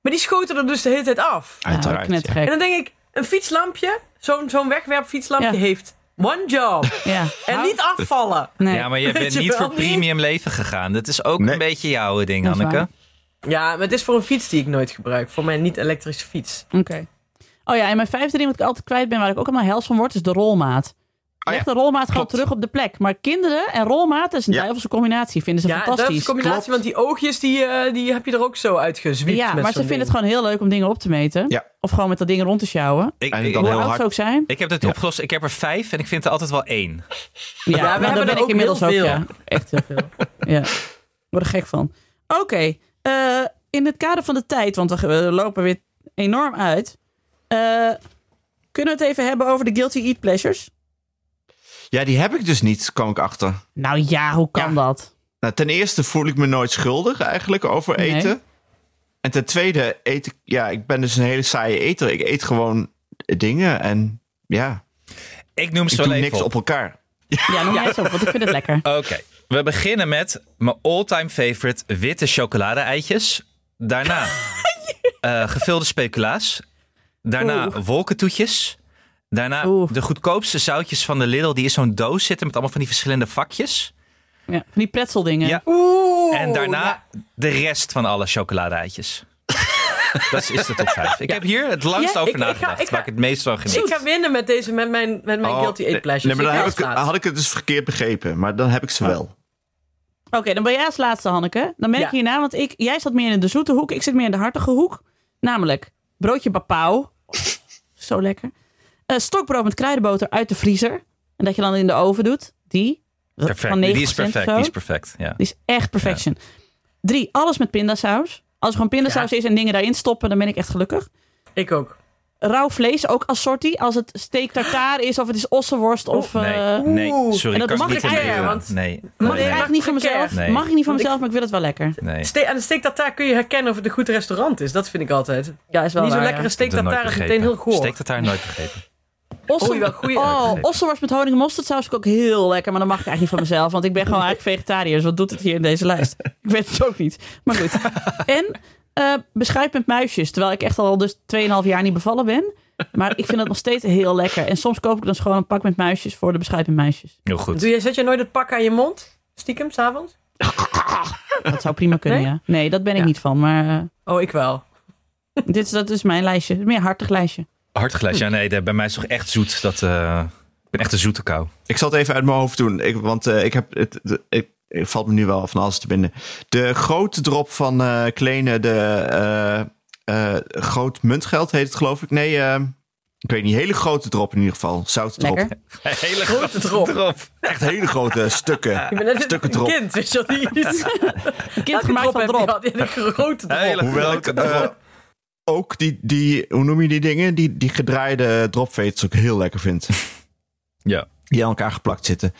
S2: Maar die schoten er dus de hele tijd af.
S1: nou,
S3: Uiteraard. ja.
S1: knettergek.
S2: En dan denk ik, een fietslampje, zo'n zo'n wegwerpfietslampje
S1: Ja.
S2: heeft one job.
S1: Ja.
S2: En
S1: Hou-
S2: niet afvallen.
S1: Nee.
S4: ja, maar je
S2: Weet
S4: bent
S2: je
S4: niet
S2: wel
S4: voor
S2: niet?
S4: premium leven gegaan. Dat is ook
S3: Nee.
S4: een beetje jouw ding,
S1: Dat is
S4: Anneke.
S1: waar.
S2: Ja, maar het is voor een fiets die ik nooit gebruik. Voor mijn niet-elektrische fiets.
S1: Oké. Oh ja, en mijn vijfde ding wat ik altijd kwijt ben, waar ik ook allemaal hels van word, is de rolmaat.
S3: Oh ja,
S1: Leg de rolmaat gewoon
S3: klopt.
S1: terug op de plek. Maar kinderen en rolmaat is een
S3: Ja.
S1: duivelse combinatie. Vinden ze
S2: ja, dat is
S1: fantastisch.
S2: een combinatie,
S3: Klopt.
S2: want die oogjes die, eh, die heb je er ook zo uitgezwiept.
S1: ja,
S2: met
S1: maar ze
S2: zo'n
S1: vinden het
S2: ding.
S1: gewoon heel leuk om dingen op te meten.
S3: Ja.
S1: Of gewoon met dat ding rond te sjouwen.
S4: Ik,
S3: En
S4: ik,
S3: dan
S1: Hoe
S3: heel
S1: oud
S3: hard.
S1: ze ook zijn.
S4: ik heb dit opgelost. Ik heb er vijf en ik vind er altijd wel één.
S1: Ja,
S2: we
S1: nou,
S2: hebben
S1: daar
S2: er
S1: ben
S2: ook
S1: ik inmiddels
S2: heel
S1: ook.
S2: veel.
S1: Ja, echt heel veel. ja, ik word er gek van. Oké, eh, in het kader van de tijd, want we, we lopen weer enorm uit. eh, kunnen we het even hebben over de guilty eat pleasures?
S3: Ja, die heb ik dus niet, kwam ik achter.
S1: Nou ja, hoe kan dat?
S3: Nou, ten eerste voel ik me nooit schuldig eigenlijk over
S1: Nee.
S3: eten. En ten tweede eet ik... Ja, ik ben dus een hele saaie eter. Ik eet gewoon dingen en ja,
S4: Ik noem
S3: ik
S4: ze
S3: doe
S4: wel even
S3: niks op elkaar.
S1: Ja, noem jij eens op, want ik vind het lekker.
S4: Oké, we beginnen met mijn all-time favorite witte chocolade-eitjes. Daarna eh, gevulde speculaas. Daarna wolkentoetjes. Daarna
S1: Oeh.
S4: de goedkoopste zoutjes van de Lidl. Die in zo'n doos zitten met allemaal van die verschillende vakjes.
S1: Ja, van die pretzeldingen.
S4: Ja. en daarna de rest van alle chocoladeitjes. dat is de top 5. Ik heb hier het langst
S2: Ja,
S4: over
S2: ik- ik ga-
S4: nagedacht.
S2: ik ga-
S4: waar ik het meest van
S2: Ik
S4: geniet.
S2: ga winnen met deze, met mijn, met mijn
S3: Oh,
S2: guilty eat pleasures.
S3: Nee, maar dan
S2: Ik
S3: heb
S2: ga als
S3: ik,
S2: laatste.
S3: had ik het dus verkeerd begrepen. Maar dan heb ik ze wel.
S1: Oké, dan ben jij als laatste, Hanneke. Dan merk
S2: Ja.
S1: je hierna, want ik, jij zat meer in de zoete hoek. Ik zit meer in de hartige hoek. Namelijk broodje bapau. Zo lekker. Eh, stokbrood met kruidenboter uit de vriezer. En dat je dan in de oven doet. Die. Dat-
S4: Perfect.
S1: Van 9%
S4: Die is perfect.
S1: zo.
S4: Die is perfect. Ja.
S1: Die is echt perfection. Drie, alles met pindasaus. Als er gewoon pindasaus is en dingen daarin stoppen, dan ben ik echt gelukkig.
S2: Ik ook.
S1: Rauw vlees, ook assorti. Als het steek tartaar is, of het is ossenworst. Of, eh,
S4: Nee, nee,
S2: Oeh.
S4: sorry.
S1: En dat
S4: kan
S1: mag
S4: ik
S1: ik
S4: niet
S1: eigenlijk,
S4: inleveren.
S2: want-
S4: Nee,
S1: mag ik
S4: nee,
S1: eigenlijk niet van
S2: Verkeer.
S1: mezelf.
S4: Nee.
S1: Mag ik niet van
S2: Want ik-
S1: mezelf, maar ik wil het wel lekker.
S4: nee.
S2: Ste aan de steak tartaar kun je herkennen of het een goed restaurant is. Dat vind ik altijd.
S1: nou Ja, is wel
S2: Niet zo'n
S1: waar,
S2: lekkere
S1: ja.
S2: steak
S4: Dat nooit
S2: tartaar is meteen
S4: begrepen.
S2: heel goor.
S4: Steek dat daar nooit begrepen.
S1: Ossen-
S2: Oei, wel goeie-
S1: oh, ossenworst met honing en mosterdsaus vind ik ook heel lekker. Maar dat mag ik eigenlijk niet van mezelf. Want ik ben gewoon eigenlijk vegetariër. Dus wat doet het hier in deze lijst? Ik weet het ook niet. Maar goed. En eh beschuit met muisjes. Terwijl ik echt al dus 2,5 jaar niet bevallen ben. Maar ik vind dat nog steeds heel lekker. En soms koop ik dan gewoon een pak met muisjes voor de beschuit met muisjes.
S4: Heel goed.
S2: Doe je, zet je nooit het pak aan je mond? Stiekem, s'avonds?
S1: Dat zou prima kunnen,
S2: Nee?
S1: ja. Nee, dat ben ik
S2: Ja.
S1: niet van. Maar eh,
S2: Oh, ik wel.
S1: dit is, dat is mijn lijstje. Meer hartig lijstje.
S4: Hartglas. Ja, nee, de- bij mij is toch echt zoet. Dat, eh, ik ben echt een zoete kou.
S3: Ik zal het even uit mijn hoofd doen. Ik, want eh, ik heb het. de- ik, het valt me nu wel van alles te binden. De grote drop van eh Kleene, de eh, eh, groot muntgeld heet het geloof ik. Nee, eh, ik weet niet. Hele grote drop in ieder geval. Zout drop.
S1: Lekker.
S4: Hele
S2: Grote drop.
S3: Echt hele grote stukken.
S2: Ik ben net
S3: Stukken
S2: een
S3: drop.
S2: kind, weet je dat niet?
S1: Een kind gemaakt van
S2: heb je
S1: drop.
S2: gehad, ja, die grote drop.
S4: Hele
S3: Hoewel ik
S4: grote
S3: eh,
S4: drop.
S3: ook die, die, hoe noem je die dingen? Die, die gedraaide dropfates ook heel lekker vind.
S4: Ja.
S3: Die aan elkaar geplakt zitten.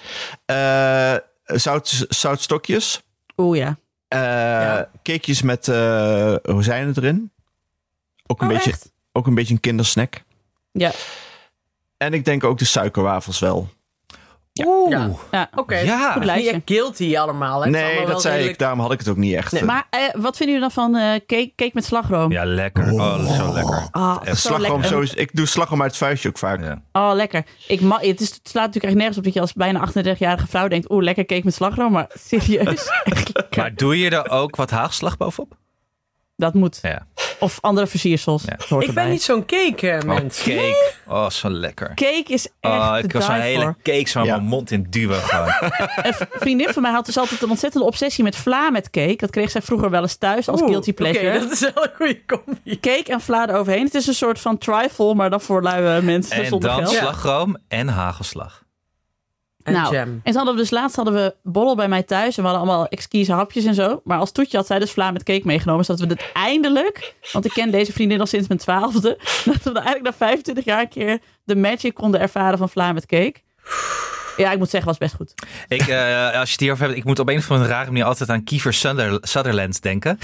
S3: Eh, zout, zoutstokjes.
S1: Oeh ja.
S3: Eh, Cakejes met eh rozijnen erin. Ook een,
S1: Oh,
S3: beetje,
S1: echt?
S3: ook een beetje een kindersnack.
S1: Ja.
S3: En ik denk ook de suikerwafels wel.
S4: Oeh.
S2: Ja.
S1: ja.
S2: Oké,
S4: Ja.
S2: goed lijstje. Niet echt guilty allemaal. hè? Het is
S3: nee,
S2: allemaal wel
S3: dat zei
S2: redelijk-
S3: ik. Daarom had ik het ook niet echt.
S2: Nee,
S3: eh.
S1: Maar eh, wat vinden jullie dan van eh, cake, cake met slagroom?
S4: Ja, lekker. Oh, dat is zo lekker.
S1: Ah,
S4: Echt
S1: zo
S3: Eh, slagroom
S1: lekker.
S3: sowieso, ik doe slagroom uit het vuistje ook vaak.
S4: Ja.
S1: Oh, lekker. Ik ma het, is, het slaat natuurlijk echt nergens op dat je als bijna 38-jarige vrouw denkt... oeh, lekker cake met slagroom, maar serieus? echt lekker.
S4: Maar doe je er ook wat haagslag bovenop?
S1: dat moet.
S4: Ja.
S1: Of andere versiersels.
S4: Ja.
S1: Dat hoort
S2: Ik ben
S1: erbij.
S2: niet zo'n cake, eh,
S4: Oh,
S2: mens.
S4: cake. Oh, zo lekker.
S1: Cake is echt
S4: Oh,
S1: de
S4: ik was zo'n
S1: die
S4: hele
S1: voor.
S4: cake zo aan
S3: Ja.
S4: mijn mond in duwen gewoon.
S1: Een v- vriendin van mij had dus altijd een ontzettende obsessie met vla met cake. Dat kreeg zij vroeger wel eens thuis als
S2: Oeh,
S1: guilty pleasure.
S2: Oké, dat is wel een goede combi.
S1: Cake en vla eroverheen. Het is een soort van trifle, maar dan voor luie mensen
S4: En
S1: zonder
S4: dan
S1: geld.
S4: slagroom en hagelslag.
S2: En
S1: nou,
S2: jam.
S1: En ze hadden we dus laatst hadden we borrel bij mij thuis. En we hadden allemaal exquise hapjes en zo. Maar als toetje had zij dus vla met cake meegenomen. Zodat we het eindelijk, want ik ken deze vriendin al sinds mijn twaalfde. Dat we eigenlijk na 25 jaar een keer de magic konden ervaren van vla met cake. Ja, ik moet zeggen, was best goed.
S4: Ik, eh, als je het hierover hebt, ik moet op een of andere rare manier altijd aan Kiefer Suther- Sutherland denken.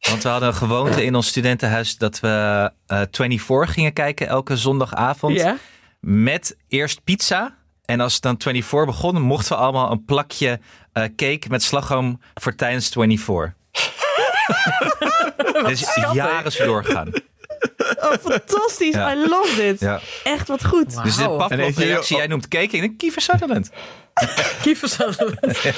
S4: Want we hadden een gewoonte in ons studentenhuis dat we eh 24 gingen kijken elke zondagavond.
S1: Ja.
S4: Met eerst pizza. En als het dan 24 begon, mochten we allemaal een plakje eh, cake met slagroom voor tijdens 24. dus jaren zo doorgaan.
S1: Oh, fantastisch.
S4: Ja.
S1: I love dit.
S4: Ja.
S1: Echt wat goed.
S4: Dus de
S2: Wauw.
S3: En heeft
S4: Pavlov-reactie,
S3: hij-
S4: jij noemt cake, ik denk Kiefer Sutherland.
S2: Kievers hadden we-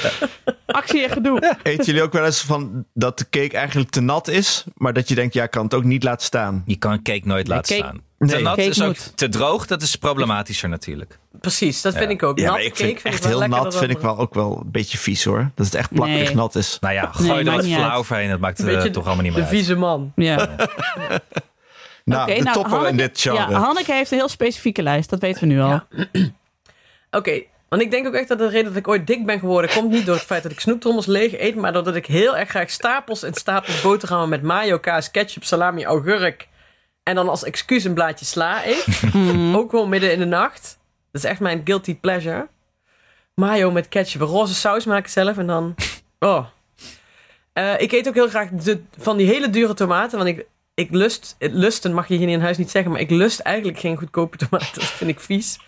S1: Actie en gedoe.
S3: Eten jullie ook wel eens van dat de cake eigenlijk te nat is, maar dat je denkt, ja, ik kan het ook niet laten staan?
S4: Je kan cake nooit laten
S1: cake-
S4: staan.
S3: Nee.
S4: Te nat
S1: Cake
S4: is ook
S1: moet.
S4: te droog, dat is problematischer natuurlijk.
S2: Precies, dat vind ik ook.
S3: Ja,
S2: Natte
S3: maar ik
S2: cake
S3: vind
S2: ik
S3: echt
S2: wel
S3: heel
S2: lekkerder
S3: nat,
S2: dan-
S3: vind ik wel ook wel een beetje vies hoor. Dat het echt plakkerig
S1: Nee.
S3: nat is.
S4: Nou ja,
S1: Nee,
S4: gooi er
S1: maakt
S4: wat
S1: niet
S4: flauw
S1: uit.
S4: overheen. Dat maakt
S2: Een
S4: het
S2: beetje
S4: eh, toch allemaal niet meer
S2: De
S4: uit.
S2: vieze man.
S1: Ja.
S3: Nou,
S1: Oké,
S3: de
S1: nou,
S3: toppen in
S1: Hanneke-
S3: dit genre.
S1: Ja, Hanneke heeft een heel specifieke lijst. Dat weten we nu al.
S2: Ja. Oké, want ik denk ook echt dat de reden dat ik ooit dik ben geworden... komt niet door het feit dat ik snoeptrommels leeg eet... maar doordat ik heel erg graag stapels en stapels boterhammen... met mayo, kaas, ketchup, salami, augurk... en dan als excuus een blaadje sla eet. Ook wel midden in de nacht. Dat is echt mijn guilty pleasure. Mayo met ketchup, een roze saus maak ik zelf en dan... Oh. Eh, ik eet ook heel graag de, van die hele dure tomaten... want ik, ik lust... het Lusten mag je hier in huis niet zeggen... maar ik lust eigenlijk geen goedkope tomaten. Dat vind ik vies.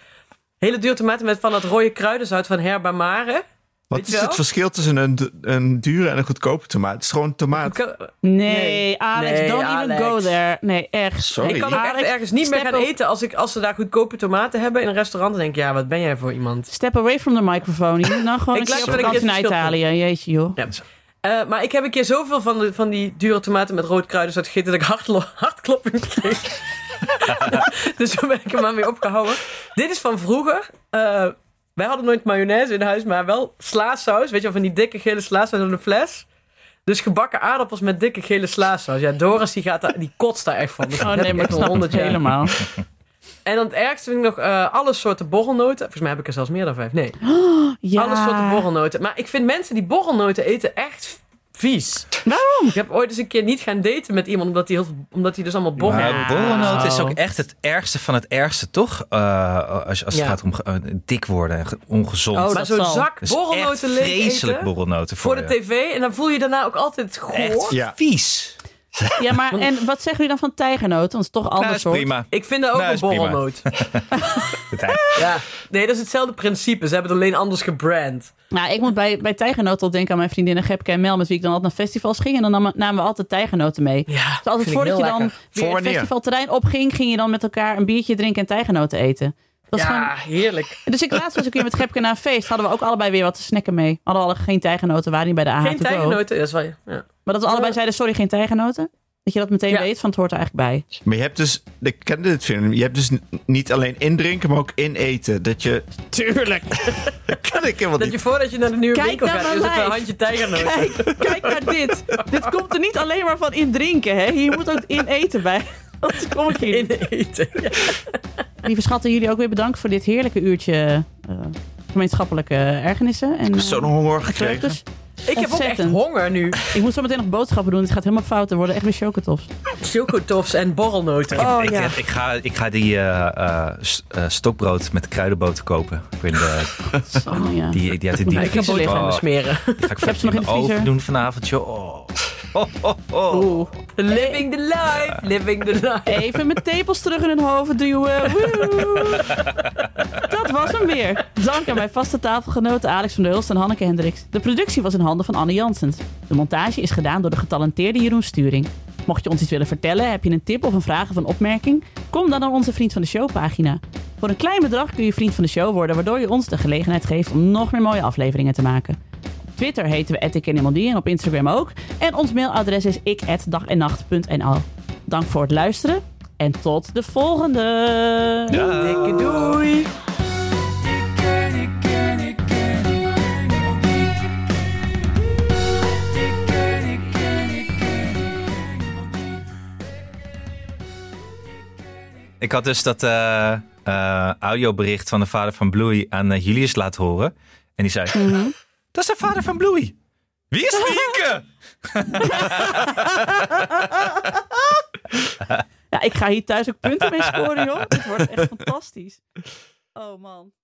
S2: Hele dure tomaten met van dat rode kruidenzout van Herbamare.
S3: Wat
S2: Weet
S3: is
S2: je wel?
S3: het verschil tussen een, du- een dure en een goedkope tomaat? Het is gewoon een tomaat.
S2: Ik-
S1: Nee,
S2: Nee.
S1: Alex,
S2: Nee,
S1: don't
S2: Alex.
S1: even go there. Nee, echt.
S3: Sorry.
S2: Ik kan ook echt
S1: Alex,
S2: ergens niet meer
S1: step
S2: gaan
S1: op.
S2: eten als, ik, als ze daar goedkope tomaten hebben in een restaurant. Dan denk ik, ja, wat ben jij voor iemand?
S1: Step away from the microphone. Je moet nou gewoon
S2: Ik
S1: een
S2: lijk
S1: keer op
S2: wel een
S1: vakantie
S2: keer
S1: naar
S2: het verschil
S1: Italië. Jeetje joh.
S2: Ja. Eh, maar ik heb een keer zoveel van, de, van die dure tomaten met rood kruiden zat gegeten dat ik hartlo- hartklopping kreeg. dus toen ben ik er maar mee opgehouden. Dit is van vroeger. Eh, wij hadden nooit mayonaise in huis, maar wel slaasaus. Weet je wel, van die dikke gele slaasaus in een fles. Dus gebakken aardappels met dikke gele slaasaus. Ja, Doris die, gaat daar, die kotst daar echt van. Dus dat
S1: Oh
S2: heb
S1: nee, maar ik
S2: echt al
S1: snap het
S2: 100 jaar.
S1: helemaal.
S2: En dan het ergste vind ik nog eh, alle soorten borrelnoten. Volgens mij heb ik er zelfs meer dan vijf. Nee,
S1: Ja.
S2: alle soorten borrelnoten. Maar ik vind mensen die borrelnoten eten echt vies.
S1: Waarom?
S2: Ik heb ooit eens een keer niet gaan daten met iemand omdat hij, heel, veel- omdat hij dus allemaal borrel...
S4: Maar
S1: Nou.
S4: borrelnoot is ook echt het ergste van het ergste, toch? Eh, als als het
S2: Ja.
S4: gaat om ge- eh, dik worden en ge- ongezond.
S1: Oh,
S2: maar
S1: dat
S2: zo'n
S1: zal.
S2: zak
S4: Dus echt
S2: borrelnoten leeg
S4: vreselijk
S2: eten
S4: borrelnoten voor,
S2: voor de
S4: je.
S2: tv. En dan voel je daarna ook altijd goor.
S4: Echt
S3: Ja.
S4: vies.
S1: Ja, maar en wat zeggen jullie dan van tijgernoten? Want het is toch
S4: Nou,
S1: anders
S4: is
S1: soort.
S4: prima.
S2: Ik vind dat ook
S4: Nou,
S2: een
S4: is prima.
S2: borrelnoot.
S4: Partij.
S2: Ja. Nee, dat is hetzelfde principe. Ze hebben het alleen anders gebrand.
S1: Nou, ik moet bij, bij tijgernoten al denken aan mijn vriendinnen Gepke en Mel, met wie ik dan altijd naar festivals ging. En dan namen, namen we altijd tijgernoten mee.
S2: Ja,
S1: Dus altijd
S2: vind ik
S1: voordat je
S2: heel
S1: dan
S2: lekker.
S1: weer
S3: Voor
S1: het
S3: wanneer?
S1: festivalterrein opging, ging je dan met elkaar een biertje drinken en tijgernoten eten. Dat is
S2: Ja,
S1: gewoon...
S2: heerlijk.
S1: Dus ik laatst was ik weer met Gepke naar een feest. Hadden we ook allebei weer wat te snacken mee. Hadden we alle geen Eh. tijgernoten, waren niet bij de AH
S2: Geen
S1: to go.
S2: tijgernoten. Dat is wel... Ja.
S1: Maar dat we allebei zeiden, sorry, geen tijgernoten. Dat je dat meteen
S2: Ja.
S1: weet, van het hoort er eigenlijk bij.
S3: Maar je hebt dus, ik kende dit film, je hebt dus n- niet alleen indrinken, maar ook ineten. Dat je,
S1: Tuurlijk.
S3: kan ik helemaal
S2: Dat je
S3: niet.
S2: voordat je naar de nieuwe
S1: Kijk
S2: winkel
S1: naar
S2: gaat,
S1: mijn
S2: is het een
S1: lijf.
S2: handje tijgernoten.
S1: Kijk, kijk naar dit. Dit komt er niet alleen maar van in drinken, hè. Hier moet ook in eten bij. Dat kom ik hier. niet.
S2: in eten.
S1: Lieve schatten, jullie ook weer bedankt voor dit heerlijke uurtje eh, gemeenschappelijke ergernissen. En, eh,
S3: Zo'n honger
S1: en
S3: gekregen.
S1: vreugdes.
S2: Ik heb ook echt
S1: Ontzettend.
S2: honger nu.
S1: Ik moet zo meteen nog boodschappen doen. Het gaat helemaal fout. Er worden echt weer chocotofs.
S2: Chocotofs en borrelnoten.
S1: Oh,
S4: ik,
S1: ja.
S4: ik, ga, ik ga die eh, eh, s- eh, stokbrood met kruidenboten kopen. Ik vind, eh,
S1: Oh, ja.
S4: die, die, uit de diepvries.
S2: ik heb ooit gaan
S4: Oh,
S2: besmeren.
S4: die ga ik
S1: heb ze nog in de
S4: over
S1: vriezer.
S4: doen vanavond, joh. Oh. Oh, oh, oh.
S1: Oeh.
S2: Living the life, living the life.
S1: Even mijn tepels terug in hun hoofd duwen. Woe. Dat was hem weer. Dank aan mijn vaste tafelgenoten Alex van der Hulst en Hanneke Hendricks. De productie was in handen van Anne Janssens. De montage is gedaan door de getalenteerde Jeroen Sturing. Mocht je ons iets willen vertellen, heb je een tip of een vraag of een opmerking? Kom dan naar onze Vriend van de Show pagina. Voor een klein bedrag kun je Vriend van de Show worden, waardoor je ons de gelegenheid geeft om nog meer mooie afleveringen te maken. Op Twitter heten we @ikkennemaldie en op Instagram ook. En ons mailadres is ik@dagennacht.nl. Dank voor het luisteren en tot de volgende.
S2: Dikke doei.
S5: Ik ken, ik ken, ik ken, ik ken niemand die. Ik ken, ik ken, ik ken, ik ken niemand die.
S4: Ik had dus dat eh, eh, audiobericht van de vader van Bloei aan eh, Julius laten horen. En die zei, dat is de vader van Bloei. Wie is Mieke?
S1: Ja, ik ga hier thuis ook punten mee scoren, joh. Dit wordt echt fantastisch. Oh man.